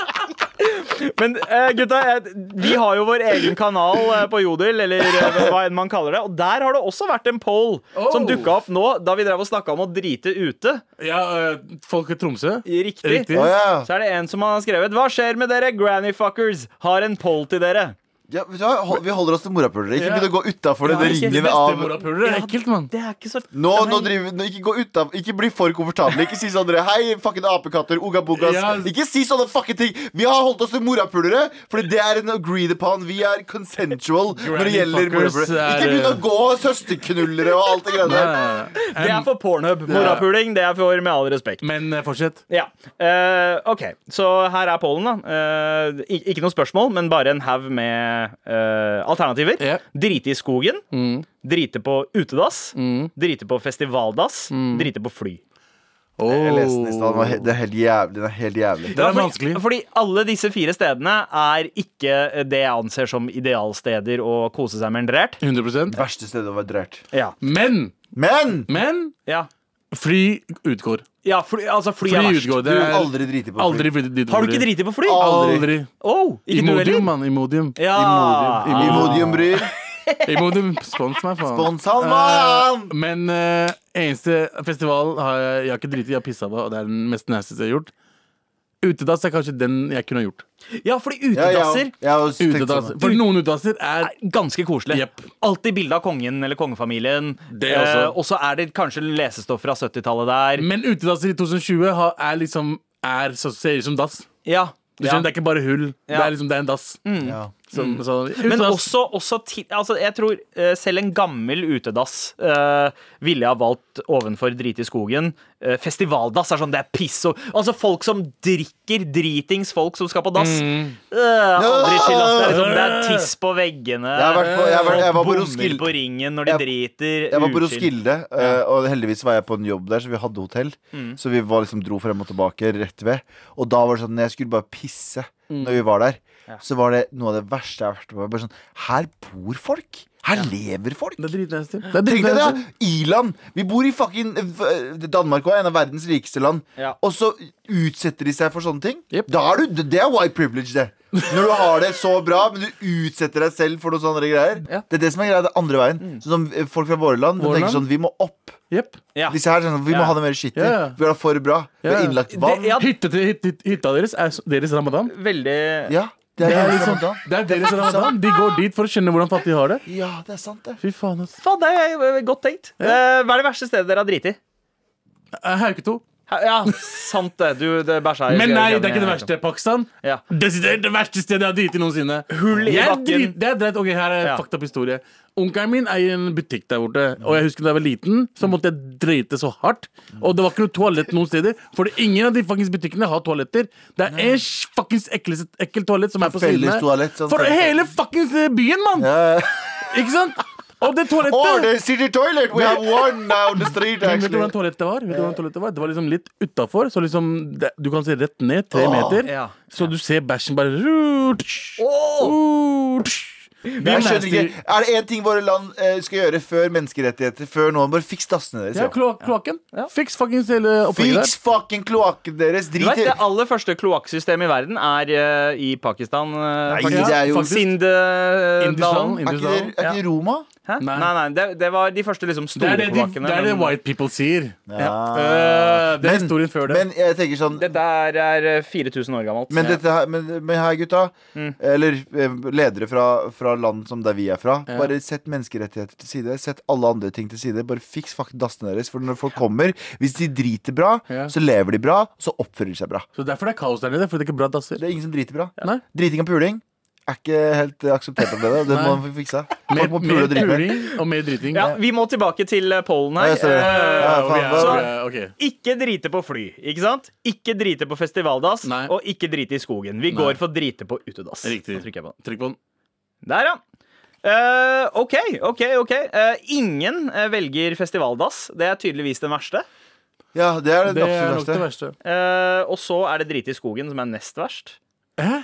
S2: Men eh, gutta, eh, vi har jo vår egen kanal eh, på Jodel, eller eh, hva enn man kaller det. Og der har det også vært en poll som
S4: Oh.
S2: dukka opp nå, da vi drev og snakka om å drite ute.
S4: Ja, øh, folk i Tromsø.
S2: Riktig.
S4: Riktig.
S3: Å, ja.
S2: Så er det en som har skrevet Hva skjer med dere, grannyfuckers? Har en poll til dere.
S3: Ja, vet du hva? Hold- vi holder oss til morapulere. Ikke
S4: Ja.
S3: begynn å gå utafor
S2: Ja,
S3: den
S2: ikke
S3: ringen av
S4: Bestemora puler er ekkelt, mann.
S2: Det er ikke så
S3: nå, nå
S2: Nei.
S3: driver, nå, ikke, gå utenfor, ikke bli for komfortabel. Ikke si sånn dere, Hei, fucking apekatter. Uga bugas.
S4: Ja. altså-
S3: Ikke si sånne fucking ting. Vi har holdt oss til morapulere, Fordi det er en agreed upon. Vi er consensual når det gjelder
S4: Granny fuckers
S3: morapulere.
S4: er,
S3: Ikke begynn å
S4: eh,
S3: gå søsterknullere og alt det greia
S4: Nei,
S3: der.
S4: nei, nei.
S2: Det er for pornhub. Morapuling, det er for med all respekt.
S4: Men eh, fortsett.
S2: Ja. eh, OK, så her er pollen, da. Eh, ik- ikke noe spørsmål, men bare en haug med eh, alternativer.
S4: Ja. Mm.
S2: Drite i skogen. Drite på utedass. Drite på festivaldass.
S4: Mm.
S2: Drite på fly.
S3: Jeg leste den i stad. Den var he- Den er helt jævlig. Den er helt jævlig.
S4: Det er
S2: fordi,
S4: vanskelig.
S2: Fordi alle disse fire stedene er ikke eh, det jeg anser som idealsteder å kose seg med en drert.
S4: 100
S3: Verste stedet å være drørt.
S2: Ja.
S4: Men,
S3: Men!
S4: men
S2: ja.
S4: fly utgår.
S2: ja fly, altså fly,
S4: Fly
S2: er verst.
S4: utgår.
S3: Du
S4: Det
S3: vil
S4: er
S3: aldri drite på
S4: aldri
S3: fly.
S4: fly dit.
S2: Har du ikke driti på fly?
S3: Aldri.
S4: Aldri.
S2: Oh, ikke du
S4: Imodium,
S2: heller?
S4: mann. Imodium.
S2: Ja.
S4: Imodium.
S2: Ah.
S3: Imodium bryr.
S4: Imodium. Spons meg, faen.
S3: Bonsalman!
S4: Men eh, eneste festival har jeg, jeg har ikke driti, jeg har pissa på, og det er den mest nasty jeg har gjort. Utedass er kanskje den jeg kunne ha gjort.
S2: Ja, fordi
S3: Ja, ja.
S2: utedasser
S3: Jeg har også tenkt
S4: Utedass,
S3: sånn.
S4: for noen Eh, utedasser er
S2: er ganske koselig.
S4: Jepp.
S2: Alltid bilde av kongen eller kongefamilien.
S4: Det også. Mm.
S2: Eh, og så er det kanskje lesestoff fra 70-tallet der.
S4: Men utedasser i 2020 har, er liksom er, så ser ut som dass.
S2: Ja,
S4: Du
S2: ja.
S4: skjønner, Det er ikke bare hull. Det
S2: Ja. Mm.
S4: er liksom det er en dass.
S3: Ja.
S4: Som, så,
S2: Men
S4: utedass-
S2: også, også ti- altså jeg tror eh, selv en gammel utedass eh, ville jeg ha valgt ovenfor drit i skogen. Eh, festivaldass er sånn, det er piss og Altså folk som drikker, dritings folk som skal på dass.
S4: Mm.
S2: Eh, aldri chill, ass. Det er, liksom, det er tiss på veggene.
S3: Jeg har vært på- jeg har vært-
S2: folk
S3: jeg var på
S2: bommer
S3: Roskilde.
S2: på ringen når de
S3: Jeg-
S2: driter.
S3: Jeg var på
S2: Uchill.
S3: Roskilde, eh, og heldigvis var jeg på en jobb der, så vi hadde hotell. Så vi var liksom dro frem og tilbake rett ved. Og da var det sånn når jeg skulle bare pisse når vi var der. Så var det noe av det verste jeg har vært med på. Bare sånn, her bor folk! Her lever folk!
S4: Det er dritnasty. Det er
S3: Tenk deg det!
S4: dritnasty.
S3: Iland! Vi bor i fucking eh, f- Danmark og er en av verdens rikeste land.
S2: Ja.
S3: Og så utsetter de seg for sånne ting.
S4: Jep.
S3: Da er du, det er white privilege, det. Når du har det så bra, men du utsetter deg selv for noen sånne greier.
S4: Ja. Mm.
S3: Det er det som er greia. Det er andre veien. Sånn som eh, folk fra våre land de
S4: Våre
S3: tenker
S4: land?
S3: sånn Vi må opp.
S4: Jepp.
S2: Ja.
S3: Disse her, sånn, vi må
S2: Ja.
S3: ha det mer skittig.
S4: Ja, ja.
S3: Vi har det for bra. Vi
S4: Ja,
S3: har
S4: ja.
S3: innlagt
S2: Det-
S3: vann.
S2: ja,
S4: Hytte til, hytte, hytta deres er s- deres ramadan.
S2: veldig
S3: ja, det er,
S4: Det er,
S3: det
S4: liksom,
S3: samme da.
S4: det er deres ramadan. De går dit for å skjønne hvordan fattige har det.
S3: Ja, det er sant, det.
S4: Fy faen, ass.
S2: Faen, det er eh, godt tenkt. Eh, hva er det verste stedet dere har driti?
S4: Eh, Hauketo.
S2: Ha- Ja, sant det. Du det bæsja i-
S4: Men nei, det er ikke det verste. Pakistan.
S2: Ja.
S4: Desidert det verste stedet jeg har driti noensinne.
S2: Hull i
S4: Jeg
S2: bakken.
S4: drit- det er dreit. Ok, Her er
S2: Ja.
S4: fucked up historie. Onkelen min eier en butikk der borte. Og jeg husker da jeg var liten, så måtte jeg drite så hardt. Og det var ikke noe toalett noen steder. For ingen av de fuckings butikkene har toaletter. Det er en fuckings ekkel, ekkel toalett som er på
S3: Felles
S4: sidene.
S3: toalett, sånn
S4: For
S3: toalett.
S4: hele fuckings eh, byen, mann!
S3: Eh,
S4: Ikke sant? Og det toalettet
S3: Order city toilet! We have one down the street,
S4: men vet du
S3: actually.
S4: hvordan toalettet var? Vet du hvordan toalettet var? Det var liksom litt utafor, så liksom det, du kan se rett ned, tre
S3: Åh,
S4: meter.
S2: ja.
S4: Så du ser bæsjen bare oh.
S3: Jeg skjønner ikke, Er det én ting våre land eh, skal gjøre før menneskerettigheter? Før noen Bare fiks dassene deres.
S4: Ja,
S3: Ja.
S4: kloak- kloakken. Fiks fuckings hele opplegget
S3: Fiks
S4: der.
S3: fucking kloakken deres!
S2: Du
S3: Drit
S2: vet,
S3: i
S2: Det aller første kloakksystemet i verden er eh, i Pakistan. eh,
S3: Nei,
S2: faktisk.
S3: det er jo
S4: faktisk. Indusdalen,
S2: Sindedalen.
S3: Er ikke det, er ikke det Roma?
S2: Hæ? Nei, nei,
S4: Nei.
S2: det, det var de første liksom
S4: Det
S2: store
S4: er det, de,
S2: kloakkene.
S4: det er det
S2: men-
S4: white people sier.
S3: Ja.
S4: Eh, det er historien før det.
S3: Men jeg tenker sånn
S2: Dette er, er eh, 4000 år gammelt.
S3: men, dette her, men, men her, gutta, eller eh, ledere fra, fra land som der vi er fra, bare sett menneskerettigheter til side. Sett alle andre ting til side. Bare fiks fuck dassene deres. For når folk kommer, hvis de driter bra,
S4: Ja.
S3: så lever de bra, så oppfører de seg bra.
S4: Så derfor det er kaos der nede, for det er ikke bra dasser.
S3: Det er ingen som driter bra.
S4: Nei.
S3: Driting og puling er ikke helt eh, akseptert av dere. Det må vi fikse.
S4: Mer,
S3: Folk må pule
S4: mer
S3: og drite.
S4: puling og mer driting.
S2: Ja, vi må tilbake til eh, pollen her.
S3: Ja, jeg ser det.
S2: Eh,
S3: Ja,
S4: vi er-
S2: så-
S4: vi er- ok.
S2: Ikke drite på fly, ikke sant? Ikke drite på festivaldass,
S4: Nei.
S2: og ikke drite i skogen. Vi går for drite på utedass.
S4: Riktig.
S2: Da trykker jeg på den.
S4: Trykk på den.
S2: Der, ja. Eh, OK, OK. ok Eh, Ingen eh, velger festivaldass. Det er tydeligvis den verste.
S3: Ja, det er det,
S4: Det er nok
S3: absolutt
S4: det
S3: verste.
S4: verste.
S2: Eh, og så er det drite i skogen, som er nest verst.
S4: Hæ?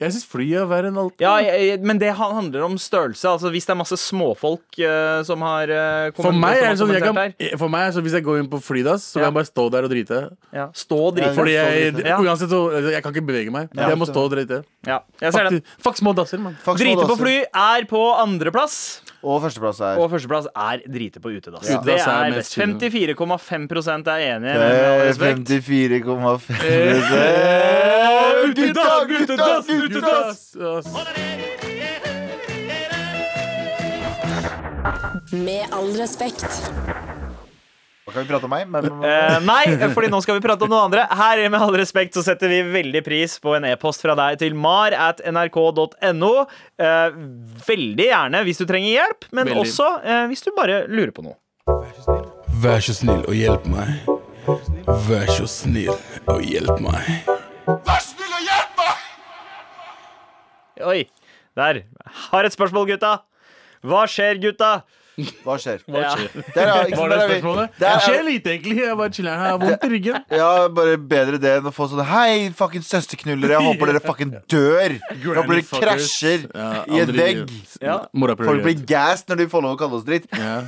S4: Jeg syns flyet er verre enn alt.
S2: Ja, jeg, jeg, Men det ha- handler om størrelse. Altså Hvis det er masse småfolk eh, som har eh,
S4: For
S2: kommen-
S4: meg
S2: som
S4: er
S2: har
S4: det sånn, jeg
S2: kommentert
S4: kan, for meg er det sånn Hvis jeg går inn på flydass, så kan
S2: Ja.
S4: jeg bare stå der og drite.
S2: her. ja. Stå og drite.
S4: Fordi jeg,
S3: drite.
S2: Ja.
S4: uansett så, altså, jeg kan ikke bevege meg.
S3: Ja.
S4: jeg må stå og drite.
S2: Ja, jeg ser
S4: Fuck,
S2: den.
S4: fuck små dasser, mann.
S3: Fuck små
S2: Drite på
S3: dasser.
S2: fly er på andreplass.
S3: Og førsteplass er
S2: Og førsteplass er drite på utedass.
S4: Ja.
S2: Det
S4: Utedass er
S2: er best.
S4: mest
S2: 54,5 er enige.
S3: Eh,
S2: Med all respekt. Utedass,
S3: 54,5
S2: utedass, utedass!
S1: Med all respekt.
S3: Nå Kan vi prate om meg? Men,
S2: Eh, nei, fordi nå skal vi prate om noe andre. Her med all respekt så setter vi veldig pris på en e-post fra deg til mar at nrk.no. Eh, veldig gjerne hvis du trenger hjelp, men
S4: Veldig.
S2: også eh, hvis du bare lurer på noe.
S5: Vær så snill og hjelp meg. Vær så snill og hjelp meg.
S2: Oi, der. Har et spørsmål, gutta. Hva skjer, gutta?
S3: hva skjer?
S2: Ja.
S3: Der, ja, ikke sant,
S4: Var det
S3: der er vi.
S4: spørsmålet?
S3: Der
S4: Det
S3: er-
S4: skjer lite, egentlig. Jeg bare chiller her. Jeg har vondt i ryggen.
S3: Ja, bare bedre det enn å få sånn Hei, fucking søsterknullere, jeg håper dere fucking dør. Jeg håper dere krasjer
S4: Ja,
S3: i en
S4: aldri-
S3: vegg.
S2: Ja.
S4: Morapuler.
S3: Folk blir gassed når de får lov å kalle oss dritt.
S4: Ja.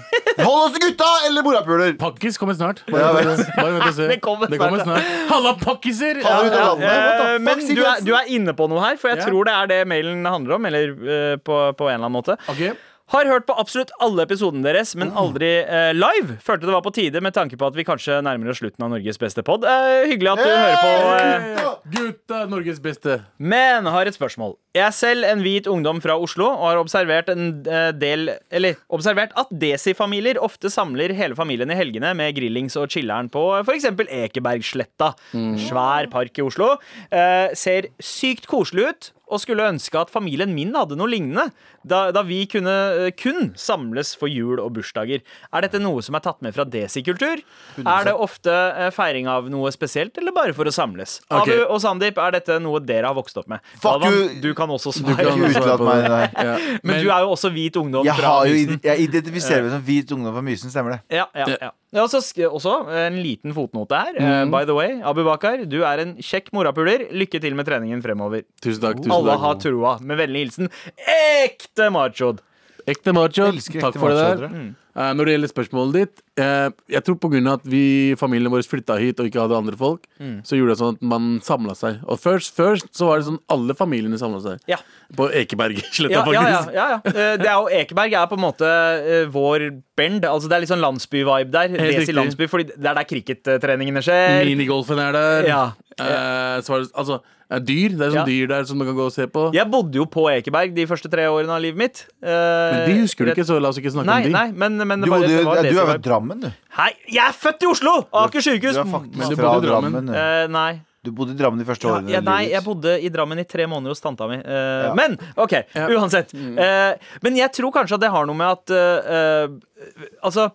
S3: Hold oss gutta, eller morapuler!
S4: Pakkis kommer snart.
S3: Ja,
S4: Bare
S3: vet
S4: vent og- bare vent og se.
S2: Det kommer snart, da.
S4: Halla, pakkiser!
S3: Ta det ut av landet. What the
S2: Eh,
S3: fuck,
S2: men
S3: Siv
S2: du er,
S3: Jensen?
S2: du er inne på noe her, for jeg
S4: Ja.
S2: tror det er det mailen handler om. Eller eh, på, på en eller annen måte.
S4: Ok.
S2: Har hørt på absolutt alle episodene deres, men aldri eh, live. Følte det var på tide med tanke på at vi kanskje nærmer oss slutten av Norges beste pod. Eh, hyggelig at du
S3: Hey!
S2: hører på. eh,
S4: Gutta, Norges beste.
S2: men har et spørsmål. Jeg er selv en hvit ungdom fra Oslo og har observert, en eh, del, eller, observert at Desi-familier ofte samler hele familien i helgene med grillings og chiller'n på f.eks. Ekebergsletta. Svær park i Oslo. Eh, ser sykt koselig ut og skulle ønske at familien min hadde noe lignende, da, da vi kunne eh, kun samles for jul og bursdager. Er dette noe som er tatt med fra Desi-kultur? Er det ofte eh, feiring av noe spesielt, eller bare for å samles?
S4: Ok.
S2: Abu og Sandeep, er dette noe dere har vokst opp med?
S3: Fuck
S2: Galvan,
S3: you.
S2: du kan også
S4: Du
S2: svare.
S4: kan
S3: Ikke
S4: svare
S3: utelat
S4: på
S3: meg,
S4: det.
S3: nei.
S4: Ja.
S2: Men du er jo også hvit ungdom.
S3: Jeg,
S2: fra
S3: har jo,
S2: Mysen.
S3: id- jeg identifiserer meg som hvit ungdom fra Mysen, stemmer det?
S2: ja, ja, ja. ja så sk Også en liten fotnote her. Eh, by the way, Abu Bakar, du er en kjekk morapuler. Lykke til med treningen fremover.
S4: Tusen takk. tusen
S2: Alle
S4: takk.
S2: har troa. Med vennlig hilsen ekte machod.
S4: Ekte macho.
S3: Elsker ekte
S4: Takk for det
S3: macho,
S4: der.
S3: dere.
S2: Mm.
S4: Eh, når det gjelder spørsmålet ditt eh, Jeg tror pga. at vi familien vår flytta hit og ikke hadde andre folk,
S2: Mm.
S4: så gjorde det sånn at man samla seg. Og først, først så var det sånn alle familiene samla seg.
S2: Ja.
S4: På Ekebergsletta,
S2: Ja, ja, ja,
S4: faktisk.
S2: ja, ja. Eh, Det er jo, Ekeberg er på en måte eh, vår bend. Altså Det er litt sånn landsby-vibe der. Desi
S4: riktig.
S2: landsby, fordi det er der crickettreningene skjer.
S4: Minigolfen er der.
S2: Ja.
S4: Eh, så var det, altså, eh, dyr. Det er sånn
S2: Ja.
S4: dyr der som man kan gå og se på.
S2: Jeg bodde jo på Ekeberg de første tre årene av livet mitt. Eh,
S4: Men de husker du ikke, så la oss ikke snakke
S2: Nei,
S4: om de.
S2: nei, men, men
S3: Du,
S2: det bare,
S3: bodde,
S2: det var
S3: ja, du er fra
S2: Desi-vibe.
S3: Drammen, du.
S2: Hei, jeg er født i Oslo! Aker
S3: Du
S2: sykehus.
S3: er
S4: Men
S3: faktisk
S4: du
S3: fra
S4: bodde i Drammen.
S3: Drammen. du.
S2: Eh, nei.
S3: Du bodde i Drammen de første
S2: Ja,
S3: årene.
S2: ja,
S3: i
S2: nei,
S3: livet
S2: jeg
S3: ditt.
S2: bodde i Drammen i tre måneder hos tanta mi. Eh,
S3: Ja.
S2: Men OK,
S4: Ja. Mm.
S2: uansett. Eh, men jeg tror kanskje at det har noe med at eh, eh, Altså,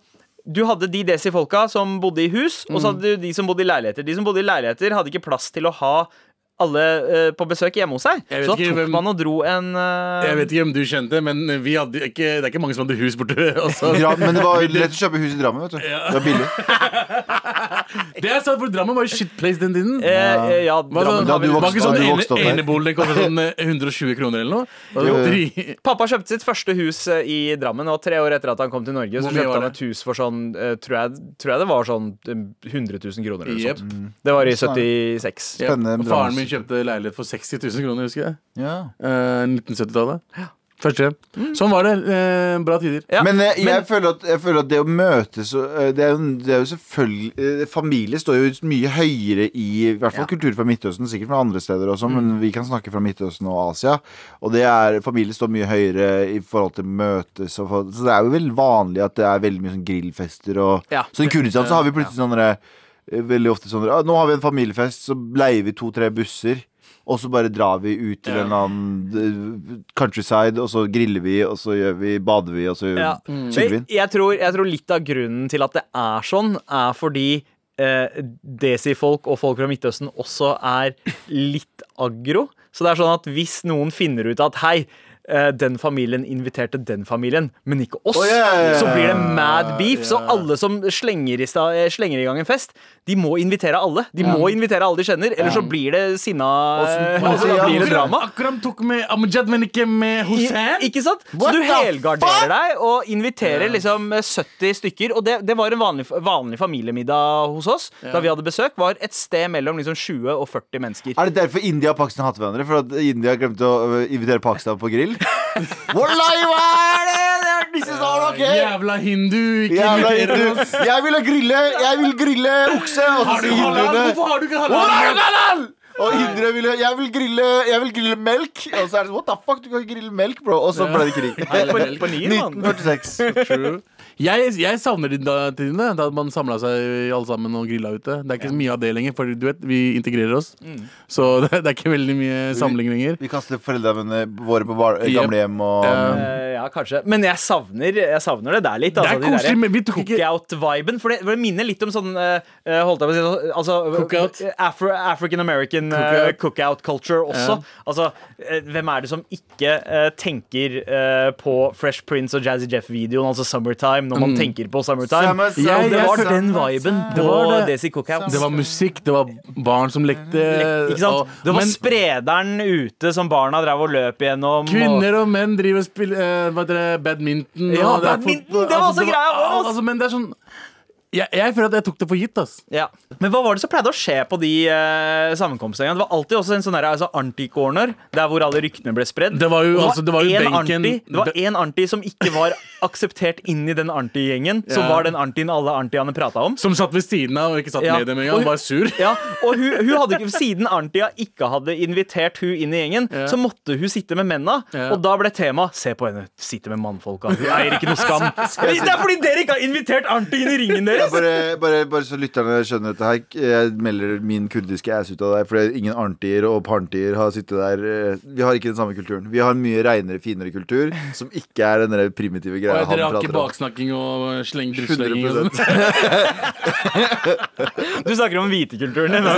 S2: du hadde de desi-folka som bodde i hus, og så hadde du de som bodde i leiligheter. De som bodde i leiligheter, hadde ikke plass til å ha alle eh, på besøk hjemme hos seg.
S4: Jeg vet
S2: Så da
S4: ikke
S2: tok
S4: hvem-
S2: man og dro en eh,
S4: Jeg vet ikke om du kjente, men vi hadde ikke, det er ikke mange som hadde hus borte. Også.
S3: Dram, men det var lett å kjøpe hus i Drammen, vet du. Det var billig.
S4: Det er sant, for Drammen var jo shit place den tiden.
S2: eh, eh, Ja,
S4: Hva
S2: Drammen
S4: da,
S2: har vel-
S3: du
S4: var
S3: vokst-
S4: ikke sånn
S3: da du
S4: ene,
S3: vokste opp der?
S4: enebolig kostet sånn eh, 120 kroner eller noe? Det var
S3: Jo.
S4: dri-
S2: Pappa kjøpte sitt første hus eh, i Drammen, og tre år etter at han kom til Norge, så
S4: Hvor mye
S2: kjøpte
S4: var
S2: han et hus for sånn eh, tror jeg, tror jeg det var sånn eh, 100 000 kroner eller noe
S4: Jep. Sånn.
S2: sånt. Det var i 76.
S4: Jep.
S3: sånn Spennende med
S4: Faren
S3: Drammen.
S4: min kjøpte leilighet for 60 000 kroner, husker jeg.
S3: Ja.
S4: Eh, 1970-tallet. Første hjem.
S3: Mm.
S4: Sånn var det. Eh, bra tider.
S2: Ja,
S3: Men eh, jeg, føler at, jeg føler at det å møtes og, eh, det, er, jo- det er jo selvfølgelig eh, Familie står jo mye høyere i I hvert fall kultur fra Midtøsten, sikkert fra andre steder også,
S2: Mm.
S3: men vi kan snakke fra Midtøsten og Asia. Og det er, familie står mye høyere i forhold til møtes og for, Så det er jo veldig vanlig at det er veldig mye sånn grillfester og
S2: Ja.
S3: Så i Kurdistan så har vi plutselig sånne eh, Veldig ofte sånne ah, Nå har vi en familiefest, så leier vi to-tre busser. og så bare drar vi ut til en eller annen eh, countryside, og så griller vi, og så gjør vi, bader vi, og så
S2: Ja.
S4: Mm.
S3: chiller vi.
S2: Men Jeg, tror, jeg tror litt av grunnen til at det er sånn, er fordi eh, desi-folk og folk fra Midtøsten også er litt aggro. Så det er sånn at hvis noen finner ut at hei, eh, den familien inviterte den familien, men ikke oss.
S3: Å, ja, ja, ja.
S2: Så blir det mad beef. Så alle som slenger i, sta- eh, slenger i gang en fest, de må invitere alle. De må invitere alle de kjenner, eller så blir det sinna
S3: så-
S2: eh, altså,
S3: ja,
S2: Da blir det drama.
S4: Akram tok med Amjad, men ikke med Hussein.
S2: I, ikke sant?
S3: What
S2: så du
S3: the
S2: helgarderer deg og inviterer liksom 70 stykker. Og det, det var en vanlig, vanlig familiemiddag hos oss da vi hadde besøk. Var et sted mellom liksom 20 og 40 mennesker.
S3: Er det derfor India og Pakistan hater hverandre? For at India glemte å øh, invitere Pakistan på grill? Wallahi, hva er det?! This is all okay!
S4: Jævla hindu. Ikke
S3: Jævla
S4: inviterer
S3: hindu.
S4: oss.
S3: Jeg vil ha grille Jeg vil grille okse! Og så
S4: Har du
S3: sier
S4: halal?
S3: hinduene
S4: Hvorfor har du ikke
S3: Hvor er
S4: halal?
S3: du halal?! Og indere ville jeg vil, grille, jeg vil grille melk. Og så er det sånn What the fuck, du kan ikke grille melk, bro. Og så ble det krig.
S2: På, på nier, mann.
S3: 1946.
S4: True. Jeg, jeg savner de da- tidene da man samla seg alle sammen og grilla ute. Det er ikke så mye av det lenger, for du vet, vi integrerer oss. Så det, det er ikke veldig mye samling lenger.
S3: Vi kaster foreldrene våre på var-
S4: Yep.
S3: gamlehjem og
S4: Eh,
S2: Eh, ja, kanskje. Men jeg savner, jeg savner det der litt.
S4: er
S2: Altså,
S4: koselig, men vi tok ikke-
S2: Cookout-viben. For det, for det minner litt om sånn eh, eh, holdt jeg på å si, sånn, altså,
S4: Cookout?
S2: eh, Afro, African American eh, cookout culture også. Altså, eh, hvem er det som ikke eh, tenker eh, på Fresh Prince og Jazzy Jeff-videoen, altså Summertime, når man tenker på Summertime? Ja,
S3: Summer,
S4: Mm. summer,
S2: det var
S4: summer
S2: den viben
S4: Det
S2: på
S4: var det.
S2: Desi Cookout.
S4: Det var musikk, det var barn som lekte.
S2: Mm. ikke sant?
S4: og-
S2: det var
S4: men
S2: sprederen ute som barna drev og løp gjennom. og-
S4: Kvinner og menn driver og spiller eh, hva heter det, badminton.
S2: Ja,
S4: og det er
S2: badminton,
S4: fotball.
S2: det var også greia vår, ass.
S4: Altså, men det er sånn jeg, jeg føler at jeg tok det for gitt, ass.
S2: Ja. Men hva var det som pleide å skje på de eh, sammenkomstene? Det var alltid også en sånn der, altså, anti-corner, der hvor alle ryktene ble spredd.
S4: Det var jo- altså, det var jo
S2: en
S4: benken-
S2: anti, det var én anti som ikke var akseptert inn i den anti-gjengen, som
S4: Ja.
S2: var den antien alle antiene prata om.
S4: Som satt ved siden av og ikke satt
S2: Ja.
S4: med dem
S2: Og
S4: engang.
S2: hun-
S4: Var sur.
S2: Ja, og hun, hun hadde ikke, Siden Arntia ikke hadde invitert hun inn i gjengen, så måtte hun sitte med menna.
S4: Ja.
S2: Og da ble tema 'se på henne, sitte med mannfolka'. Hun eier ikke noe skam. Det er fordi dere ikke har invitert Arnti inn i ringen
S3: Jeg
S2: deres!
S3: bare, bare, bare så lytterne skjønner dette her. Jeg melder min kurdiske ass ut av deg, for ingen arntier og parntier har sittet der. eh, Vi har ikke den samme kulturen. Vi har en mye reinere, finere kultur, som ikke er den der primitive
S4: Og
S3: greia han
S4: dere har ikke
S3: prater om.
S4: baksnakking og eh, sleng, drittslenging. og sånn.
S3: 100
S2: Du snakker om hvitekulturen din.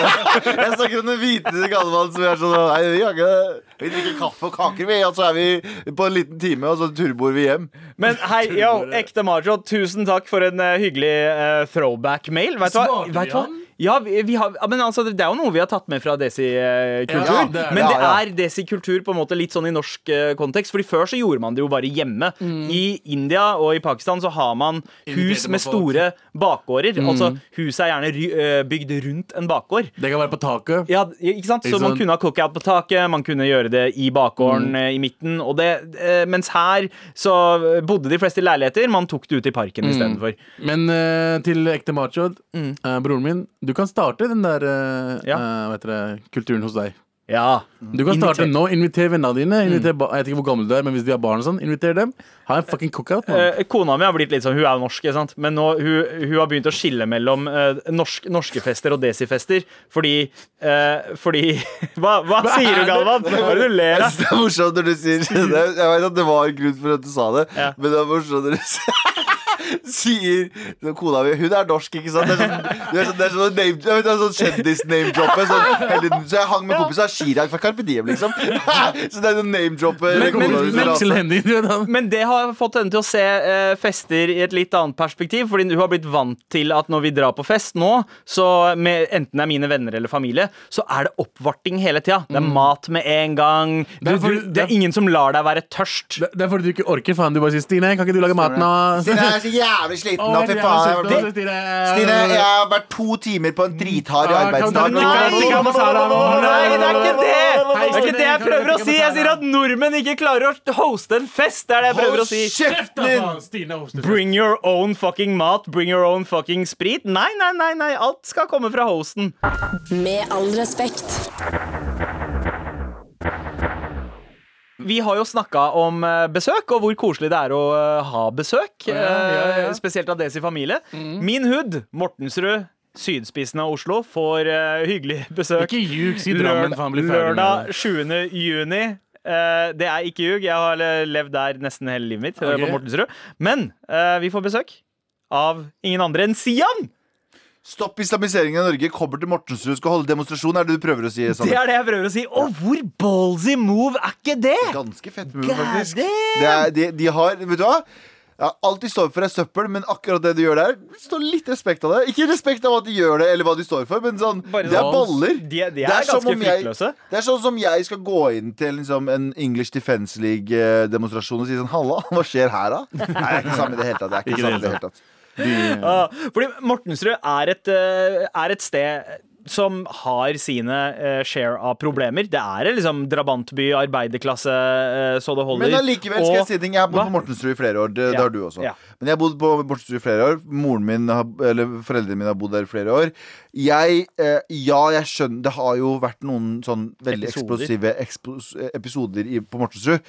S3: Jeg snakker om den hvite gallemann som er sånn Nei, vi har ikke det. Vi drikker kaffe og kaker, vi, og så er vi på en liten time, og så turbor vi hjem.
S2: Men hei, yo, ekte macho, tusen takk for en eh, hyggelig eh, throwback-mail. Vet du hva?
S4: Svarte vi
S2: Vet du hva?
S4: han?
S2: Ja, vi, vi har, ja, men altså, det er jo noe vi har tatt med fra desi-kultur.
S4: Ja, det er det.
S2: men det
S3: Ja, ja.
S2: er desi-kultur på en måte litt sånn i norsk eh, kontekst. Fordi før så gjorde man det jo bare hjemme. I India og i Pakistan så har man hus
S4: Mm. Inviterte
S2: med
S4: på folk. Mm.
S2: store bakgårder. Altså huset er gjerne ry- eh, bygd rundt en bakgård.
S4: Det kan være på taket.
S2: Ja, ikke sant? Så
S4: Ikke
S2: man
S4: sant?
S2: kunne ha cookout på taket, man kunne gjøre det i bakgården eh, i midten. Og det, eh, mens her så bodde de fleste i leiligheter, man tok det ut i parken istedenfor.
S4: Men eh, til ekte macho, eh, broren min, du kan starte den der eh,
S2: Ja.
S4: eh, hva heter det, kulturen hos deg.
S2: Ja.
S4: Du kan starte
S2: Inviter-
S4: nå. Inviter Mm. vennene dine. Inviter ba jeg vet ikke hvor gammel du er, men hvis de har barn og sånn, inviter dem. Ha en fucking cookout. mann.
S2: Eh, Kona mi har blitt litt sånn, hun er jo norsk, ikke sant? men nå, hun, hun har begynt å skille mellom eh, norsk, norske fester og desifester. Fordi eh, Fordi Hva, hva sier du, Galvan? Hva er det du ler
S3: Jeg
S2: av?
S3: synes det er morsomt når du sier det. Jeg vet at det var en grunn for at du sa det,
S2: Ja.
S3: men det er morsomt når du sier- sier når Kona mi Hun er norsk, ikke sant? Det er sånn, det er sånn, det er sånn, name, jeg vet, det er sånn kjendis-name-droppet. Sånn, hele tiden. så jeg hang med kompisen av Chirag fra Carpe Diem, liksom. Så det er sånn name-droppet.
S4: Men, men, men, Aksel Hennie, du vet han.
S2: Men det har fått henne til å se eh, fester i et litt annet perspektiv. Fordi hun har blitt vant til at når vi drar på fest nå, så med, enten det er mine venner eller familie, så er det oppvarting hele tida. Det er mat med en gang. Du,
S4: Det er
S2: du,
S4: fordi-
S2: Mm. det er ingen som lar deg være tørst.
S4: Det det er fordi du ikke orker, faen. Du bare sier 'Stine, kan ikke du lage mat nå?'
S3: Stine jeg er så jævlig sliten nå, fy faen. jeg har vært- Stine, jeg har vært to timer på en drithard
S4: Ja,
S3: arbeidsdag.
S4: kan du- Nei,
S2: Nei, det er ikke det! Det er ikke det jeg prøver å si! Jeg sier at nordmenn ikke klarer å hoste en fest. Det er det jeg prøver å si.
S3: Hold kjeften din!
S2: Bring your own fucking mat. Bring your own fucking sprit. Nei, nei, nei, nei. Alt skal komme fra hosten.
S1: Med all respekt.
S2: Vi har jo snakka om eh, besøk, og hvor koselig det er å eh, ha besøk.
S4: ja, Mm. ja, ja.
S2: eh, Spesielt av Desi familie. Min hud, Mortensrud Sydspissen av Oslo får eh, hyggelig besøk.
S4: Ikke ljug, si Drammen, for han blir ferdig med
S2: lørdag 7. juni. Eh, det er ikke ljug. Jeg har le- levd der nesten hele livet mitt. eh,
S4: Ok.
S2: På Mortensrud. Men eh, vi får besøk av ingen andre enn Sian!
S3: Stopp islamiseringen av Norge. Kommer til Mortensrud skal holde demonstrasjon. Er det du prøver å si?
S2: Det
S3: Sander?
S2: er det jeg prøver å si. Og hvor ballsy move er ikke det?
S3: Ganske fett move, faktisk.
S2: Goddamn!
S3: Det er, de, de har, vet du hva? Ja, alt de står for er søppel, men akkurat det de gjør der, står litt respekt av det. Ikke respekt av at de gjør det, eller hva de står for, men sånn,
S2: Bare
S3: det er
S2: sånn-
S3: baller.
S2: De- de er
S3: som
S2: ganske
S3: om jeg-
S2: fryktløse.
S3: Det er sånn som jeg skal gå inn til liksom, en English Defence League-demonstrasjon og si sånn, halla, hva skjer her da? Nei, det er ikke samme i det hele tatt. Det er ikke,
S4: Ikke
S3: samme
S4: det
S3: i det hele tatt.
S2: Ja, Fordi Mortensrud er et, eh, er et sted som har sine eh, share av problemer. Det er en liksom drabantby, arbeiderklasse, eh, så det holder.
S3: Men allikevel skal
S2: Og-
S3: jeg si ting. Jeg har bodd
S2: Hva?
S3: på Mortensrud i flere år.
S2: Ja.
S3: Det, det har du også.
S2: Ja.
S3: Men jeg har bodd på Mortensrud i flere år. Moren min har, eller Foreldrene mine har bodd der i flere år. Jeg, eh, ja, jeg skjønner Det har jo vært noen sånn veldig
S2: Episoder. Mm.
S3: eksplosive ekspos, episoder i, på Mortensrud.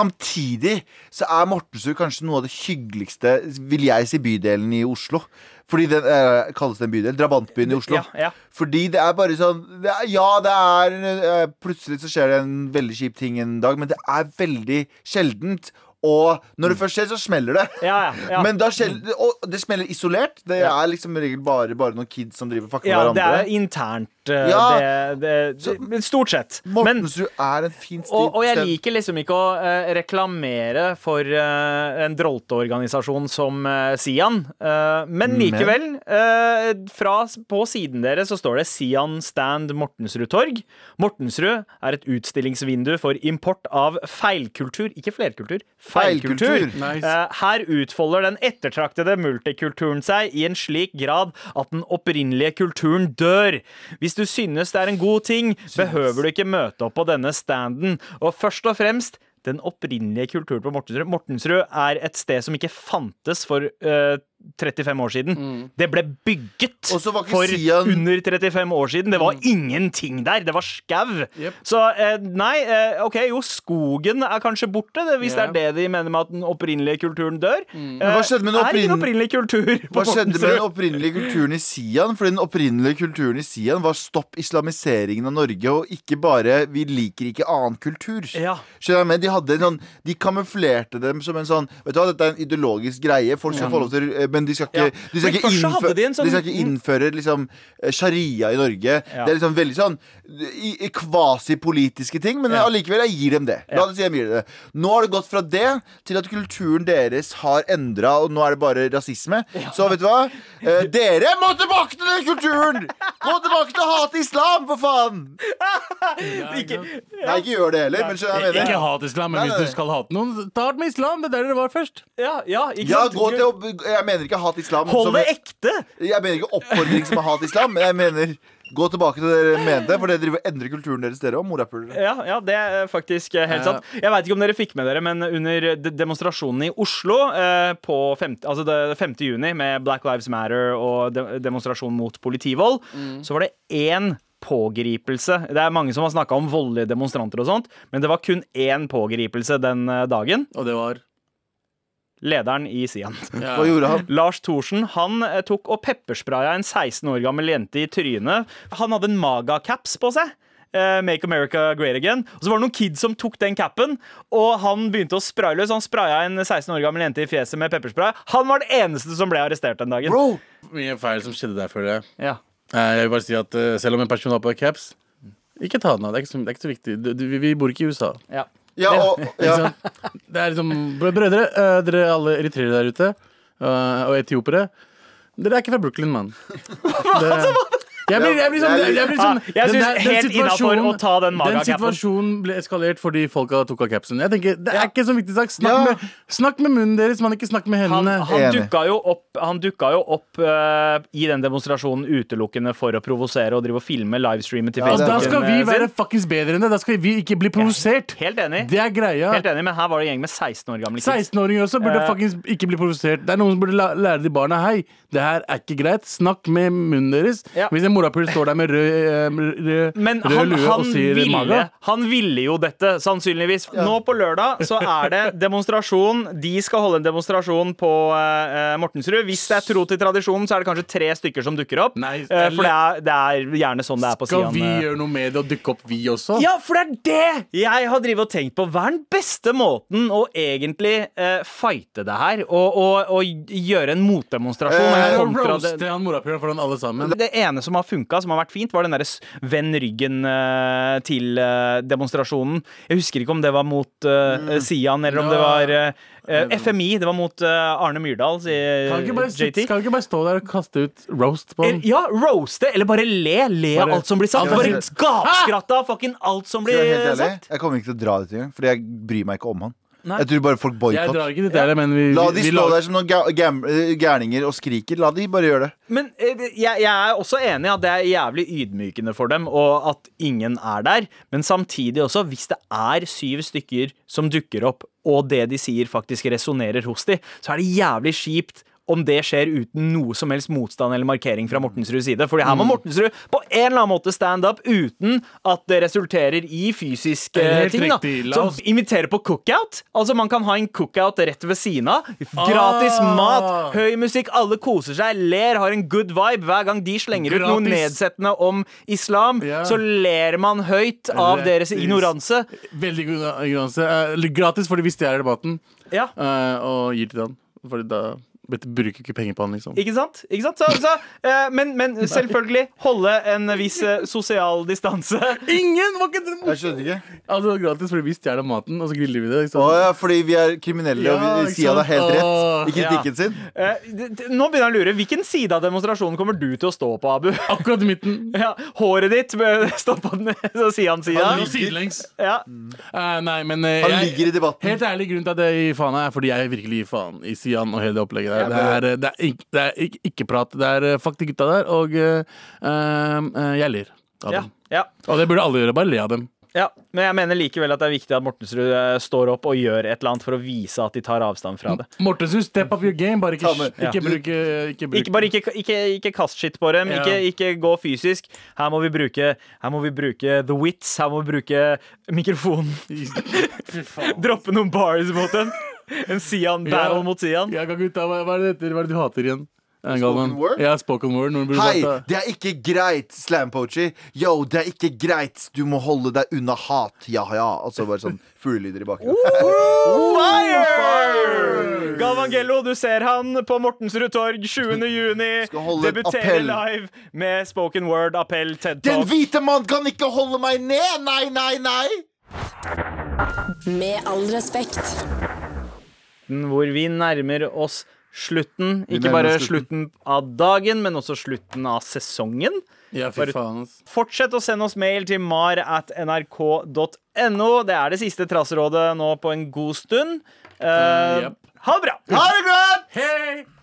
S3: Samtidig så er Mortensrud kanskje noe av det hyggeligste, vil jeg si, bydelen i Oslo. Fordi den eh, kalles det en bydel. Drabantbyen i Oslo.
S2: Ja, ja.
S3: Fordi det er bare sånn det er, Ja, det er eh, Plutselig så skjer det en veldig kjip ting en dag, men det er veldig sjeldent. Og når det først skjer, så smeller det.
S2: Mm. Ja, ja, ja. Mm.
S3: Men da skjell, og det smeller isolert. Det
S2: Ja.
S3: er liksom i regel bare, bare noen kids som driver og fucker
S2: ja,
S3: med
S2: det
S3: hverandre.
S2: er internt, eh,
S3: Ja.
S2: det, det, det Stort sett. Men
S3: Mortensrud er en fin stil.
S2: og, og jeg liker liksom ikke å eh, reklamere for eh, en drolteorganisasjon som eh, Sian, eh, men likevel eh, fra, s- På siden deres så står det Sian Stand Mortensrud Torg. Mortensrud er et utstillingsvindu for import av feilkultur, ikke flerkultur, feilkultur.
S3: Feilkultur.
S4: Nice.
S2: Eh, her utfolder den ettertraktede multikulturen seg i en slik grad at den opprinnelige kulturen dør. Hvis du synes det er en god ting, behøver du ikke møte opp på denne standen. Og først og fremst den opprinnelige kulturen på Mortensrud. Mortensrud er et sted som ikke fantes for eh, 35 år siden. Det ble bygget
S3: Mm. Og så var ikke
S2: for
S3: Sian-
S2: under 35 år siden. Det var ingenting der. Det var skau.
S4: Jep.
S2: Så eh, nei, eh, OK, jo, skogen er kanskje borte, det, hvis det
S4: Ja.
S2: er det de mener med at den opprinnelige kulturen dør. Eh,
S3: hva skjedde med den
S2: Er ingen
S3: opprin-
S2: opprinnelig kultur på
S3: Hva skjedde med den
S2: Mortensrud?
S3: opprinnelige kulturen i Sian? Fordi den opprinnelige kulturen i Sian var stopp islamiseringen av Norge, og ikke bare 'vi liker ikke annen kultur'.
S2: Ja.
S3: Skjønner jeg, men de, hadde en sånn, de kamuflerte dem som en sånn Vet du hva, Dette er en ideologisk greie, folk skal få lov til eh, Men de skal ikke,
S2: Ja.
S3: de skal
S2: Men
S3: ikke,
S2: først så
S3: innføre,
S2: hadde de
S3: de
S2: en sånn-
S3: skal ikke innføre liksom, eh, sharia i Norge.
S2: Ja.
S3: Det er liksom veldig sånn i, i kvasipolitiske ting, men
S2: Ja.
S3: allikevel, jeg gir dem det. La oss si jeg gir dem det. Nå har det gått fra det til at kulturen deres har endra, og nå er det bare rasisme. Så vet du hva? Eh, dere må tilbake til den kulturen! Gå tilbake til å hate islam, for faen!
S2: Ikke,
S3: Nei, ikke gjør det heller, men skjønner du hva jeg
S4: Ikke
S3: mener?
S4: hat islam, men
S3: Nei, nei,
S4: hvis
S3: nei.
S4: du skal hate noen, start med islam. Det er der dere var først.
S2: ja, ja, ikke
S3: Ja,
S2: sant?
S3: gå til å, jeg mener ikke hat islam.
S2: Hold
S3: som-
S2: det ekte!
S3: Jeg mener ikke oppfordring som er hat islam, men jeg mener gå tilbake til det dere mente, for det driver endrer kulturen deres, dere òg, morapulere.
S2: Ja, ja, det er faktisk eh, helt
S4: Ja.
S2: sant. Jeg veit ikke om dere fikk med dere, men under de- demonstrasjonene i Oslo eh, på 5, altså det 5. juni med Black Lives Matter og de demonstrasjon mot politivold, så var det én pågripelse. Det er mange som har snakka om voldelige demonstranter og sånt, men det var kun én pågripelse den eh, dagen.
S4: Og det var
S2: Lederen i Sian.
S4: ja.
S3: Hva gjorde han?
S2: Lars Thorsen han eh, tok og pepperspraya en 16 år gammel jente i trynet. Han hadde en maga-caps på seg. eh, Make America Great Again. Og så var det noen kids som tok den capen, og han begynte å spraye løs. Han spraya en 16 år gammel jente i fjeset med pepperspray. Han var den eneste som ble arrestert den dagen.
S3: Bro!
S4: mye feil som skjedde der, føler jeg.
S2: Ja.
S4: Eh, Jeg vil bare si at eh, selv om en person har på caps ikke ta den av. Det er ikke så, det er ikke så viktig. Du, du, vi- vi bor ikke i USA.
S2: Ja.
S3: Ja, og, ja.
S4: Det er liksom, brø- Brødre, eh, dere alle eritreere der ute, eh, og etiopiere Dere er ikke fra Brooklyn, mann. Det- Jeg blir, jeg blir sånn, jeg blir sånn
S2: Ja, Ah, jeg
S4: den
S2: synes
S4: der- den
S2: helt
S4: situasjonen-
S2: innenfor å ta den
S4: Den
S2: maga-capen.
S4: situasjonen ble eskalert fordi folka tok av capsen. Jeg tenker, Det er ikke så viktig sak. Snakk,
S3: Ja.
S4: med, snakk med munnen deres, man ikke snakk med
S2: Han,
S4: hendene.
S2: han
S3: Enig.
S2: dukka jo opp, han dukka jo opp eh, i den demonstrasjonen utelukkende for å provosere og drive og filme livestreamet til
S3: Ja,
S4: og da
S2: Facebooken eh,
S4: skal vi
S2: sin.
S4: være fuckings bedre enn det. Da skal vi ikke bli provosert.
S2: Helt enig.
S4: Det er greia.
S2: Helt enig, men her var det en gjeng med 16 år gamle kids.
S4: 16-åringer også burde
S2: Eh.
S4: fuckings ikke bli provosert. Det er noen som burde la- lære de barna Hei, det her er ikke greit. Snakk med munnen deres.
S2: Ja.
S4: Hvis en morapuler står der med rød, eh, rød,
S2: Men
S4: rød
S2: han,
S4: lue
S2: han,
S4: og sier
S2: ville,
S4: maga.
S2: han ville jo dette, sannsynligvis. Nå på lørdag så er det demonstrasjon. De skal holde en demonstrasjon på eh, Mortensrud. Hvis det er tro til tradisjonen, så er det kanskje tre stykker som dukker opp.
S4: Nei,
S2: Eh, for det er, det er gjerne sånn det er på
S4: Skal
S2: Sian.
S4: vi
S2: eh.
S4: gjøre noe med det og dukke opp, vi også?
S2: Ja, for det er det jeg har drivet og tenkt på. Hva er den beste måten å egentlig eh, fighte det her? Og, og, og gjøre en motdemonstrasjon?
S4: Eh,
S2: eller kontra det-
S4: Roaste han morapuleren foran alle sammen.
S2: det ene som har funka, som har vært fint, var den derre s- venn ryggen eh, til eh, demonstrasjonen. Jeg husker ikke om det var mot eh, Sian, eller om det var eh, eh, FMI. Det var mot eh, Arne Myrdal, sier
S4: Kan han ikke bare, sitte-
S2: JT.
S4: skal han ikke bare stå der og kaste ut roast på
S2: Eller-
S4: han?
S2: Ja, roaste, eller bare le. Le av
S4: Bare-
S2: alt som blir sagt.
S4: Ja,
S2: Bare
S4: men-
S2: gapskratte av fucking alt som
S3: Skal jeg være
S2: blir
S3: helt ærlig?
S2: sagt.
S3: Jeg kommer ikke til å dra dit engang, fordi jeg bryr meg ikke om han. Jeg tror bare folk
S4: Jeg
S3: boikott.
S4: drar ikke dit heller, men vi,
S3: La
S4: vi,
S3: de
S4: vi
S3: stå
S4: lager-
S3: der som noen ga- gam- eh, gærninger og skriker. La de bare gjøre det.
S2: Men eh, jeg, jeg er også enig i at det er jævlig ydmykende for dem, og at ingen er der. Men samtidig også, hvis det er syv stykker som dukker opp, og det de sier faktisk resonnerer hos de, så er det jævlig kjipt om det skjer uten noe som helst motstand eller markering fra Mortensruds side. Fordi
S4: Mm.
S2: her må Mortensrud på en eller annen måte stand up uten at det resulterer i fysiske
S4: Helt
S2: ting. da.
S4: riktig. La
S2: Så
S4: oss-
S2: invitere på cookout. Altså Man kan ha en cookout rett ved siden av. Gratis
S4: Ah.
S2: mat, høy musikk, alle koser seg, ler, har en good vibe. Hver gang de slenger ut noe
S4: Gratis.
S2: nedsettende om islam,
S4: Ja.
S2: så ler man høyt av deres
S4: Rettis.
S2: ignoranse.
S4: Veldig god ignoranse. Eh, eller gratis, fordi vi stjeler debatten
S2: Ja,
S4: eh, og gir til han. Fordi da vet du, bruker ikke penger på han, liksom.
S2: ikke sant? Ikke sant? Så, så, eh, men, men selvfølgelig holde en viss eh, sosial distanse.
S4: Ingen! Var ikke det morsomt?
S3: Jeg skjønner ikke.
S4: Altså gratis fordi vi stjeler maten, og så griller vi det. Ikke sant?
S3: Å ja, fordi vi er kriminelle,
S4: Ja,
S3: og
S4: ikke
S3: vi sier det er helt
S4: sant?
S3: rett i
S2: Åh, ja.
S3: kritikken sin.
S2: Eh, d- d- Nå begynner jeg å lure. Hvilken side av demonstrasjonen kommer du til å stå på, Abu?
S4: Akkurat i midten.
S2: Ja, håret ditt eh, står på den
S4: Ja.
S2: Sian-sida.
S4: Sidelengs.
S2: Ja.
S4: Eh, nei, men eh,
S3: Han
S4: jeg-
S3: ligger i debatten.
S4: Helt ærlig, grunnen til at jeg gir faen er fordi jeg virkelig gir faen i Sian og hele det opplegget der. Det er, eh, det er, ikke, det er ikke, ikke prat. Det er eh, fuck de gutta der, og eh, eh, jeg ler av
S2: Ja,
S4: dem.
S2: ja.
S4: Og det burde alle gjøre. Bare le av dem.
S2: Ja, Men jeg mener likevel at det er viktig at Mortensrud eh, står opp og gjør et eller annet for å vise at de tar avstand fra det.
S4: Mortensen, step up your game. Bare ikke,
S3: Ta med.
S4: ikke, bruk, eh, ikke bruk
S2: Ikke, bare ikke, ikke, ikke kast skitt på dem.
S4: Ja.
S2: Ikke, ikke gå fysisk. Her må, vi bruke, her må vi bruke the wits. Her må vi bruke mikrofonen.
S4: Fy faen.
S2: Droppe noen bars mot dem. En Sian battle
S4: Ja.
S2: mot Sian.
S4: Ja, gutta, hva, hva, er det etter, hva er det du hater igjen? Eh, Galvan?
S3: Spoken word?
S4: Ja, spoken word. Noen burde
S3: Hei,
S4: sagt det.
S3: det er ikke greit, slam poetry. Yo, det er ikke greit. Du må holde deg unna hat. Ja, ja. Altså bare sånn fuglelyder i bakgrunnen.
S2: Fire! Galvangello, du ser han på Mortensrud torg 20. juni.
S3: Skal holde en
S2: Debuterer
S3: appell.
S2: live med spoken word, appell, TED
S3: Den
S2: Talk.
S3: hvite mann kan ikke holde meg ned! Nei, nei, nei!
S1: Med all respekt.
S2: slutten, hvor vi nærmer oss slutten. Ikke
S3: nærmer
S2: bare
S3: oss
S2: slutten av dagen, men også slutten av sesongen.
S4: Ja, fy
S2: Bare-
S4: faen, ass.
S2: Fortsett å sende oss mail til mar at nrk.no. Det er det siste trasserådet nå på en god stund. Eh,
S4: Mm, Jep.
S2: Ha det bra!
S3: Ha det godt!
S4: Hei!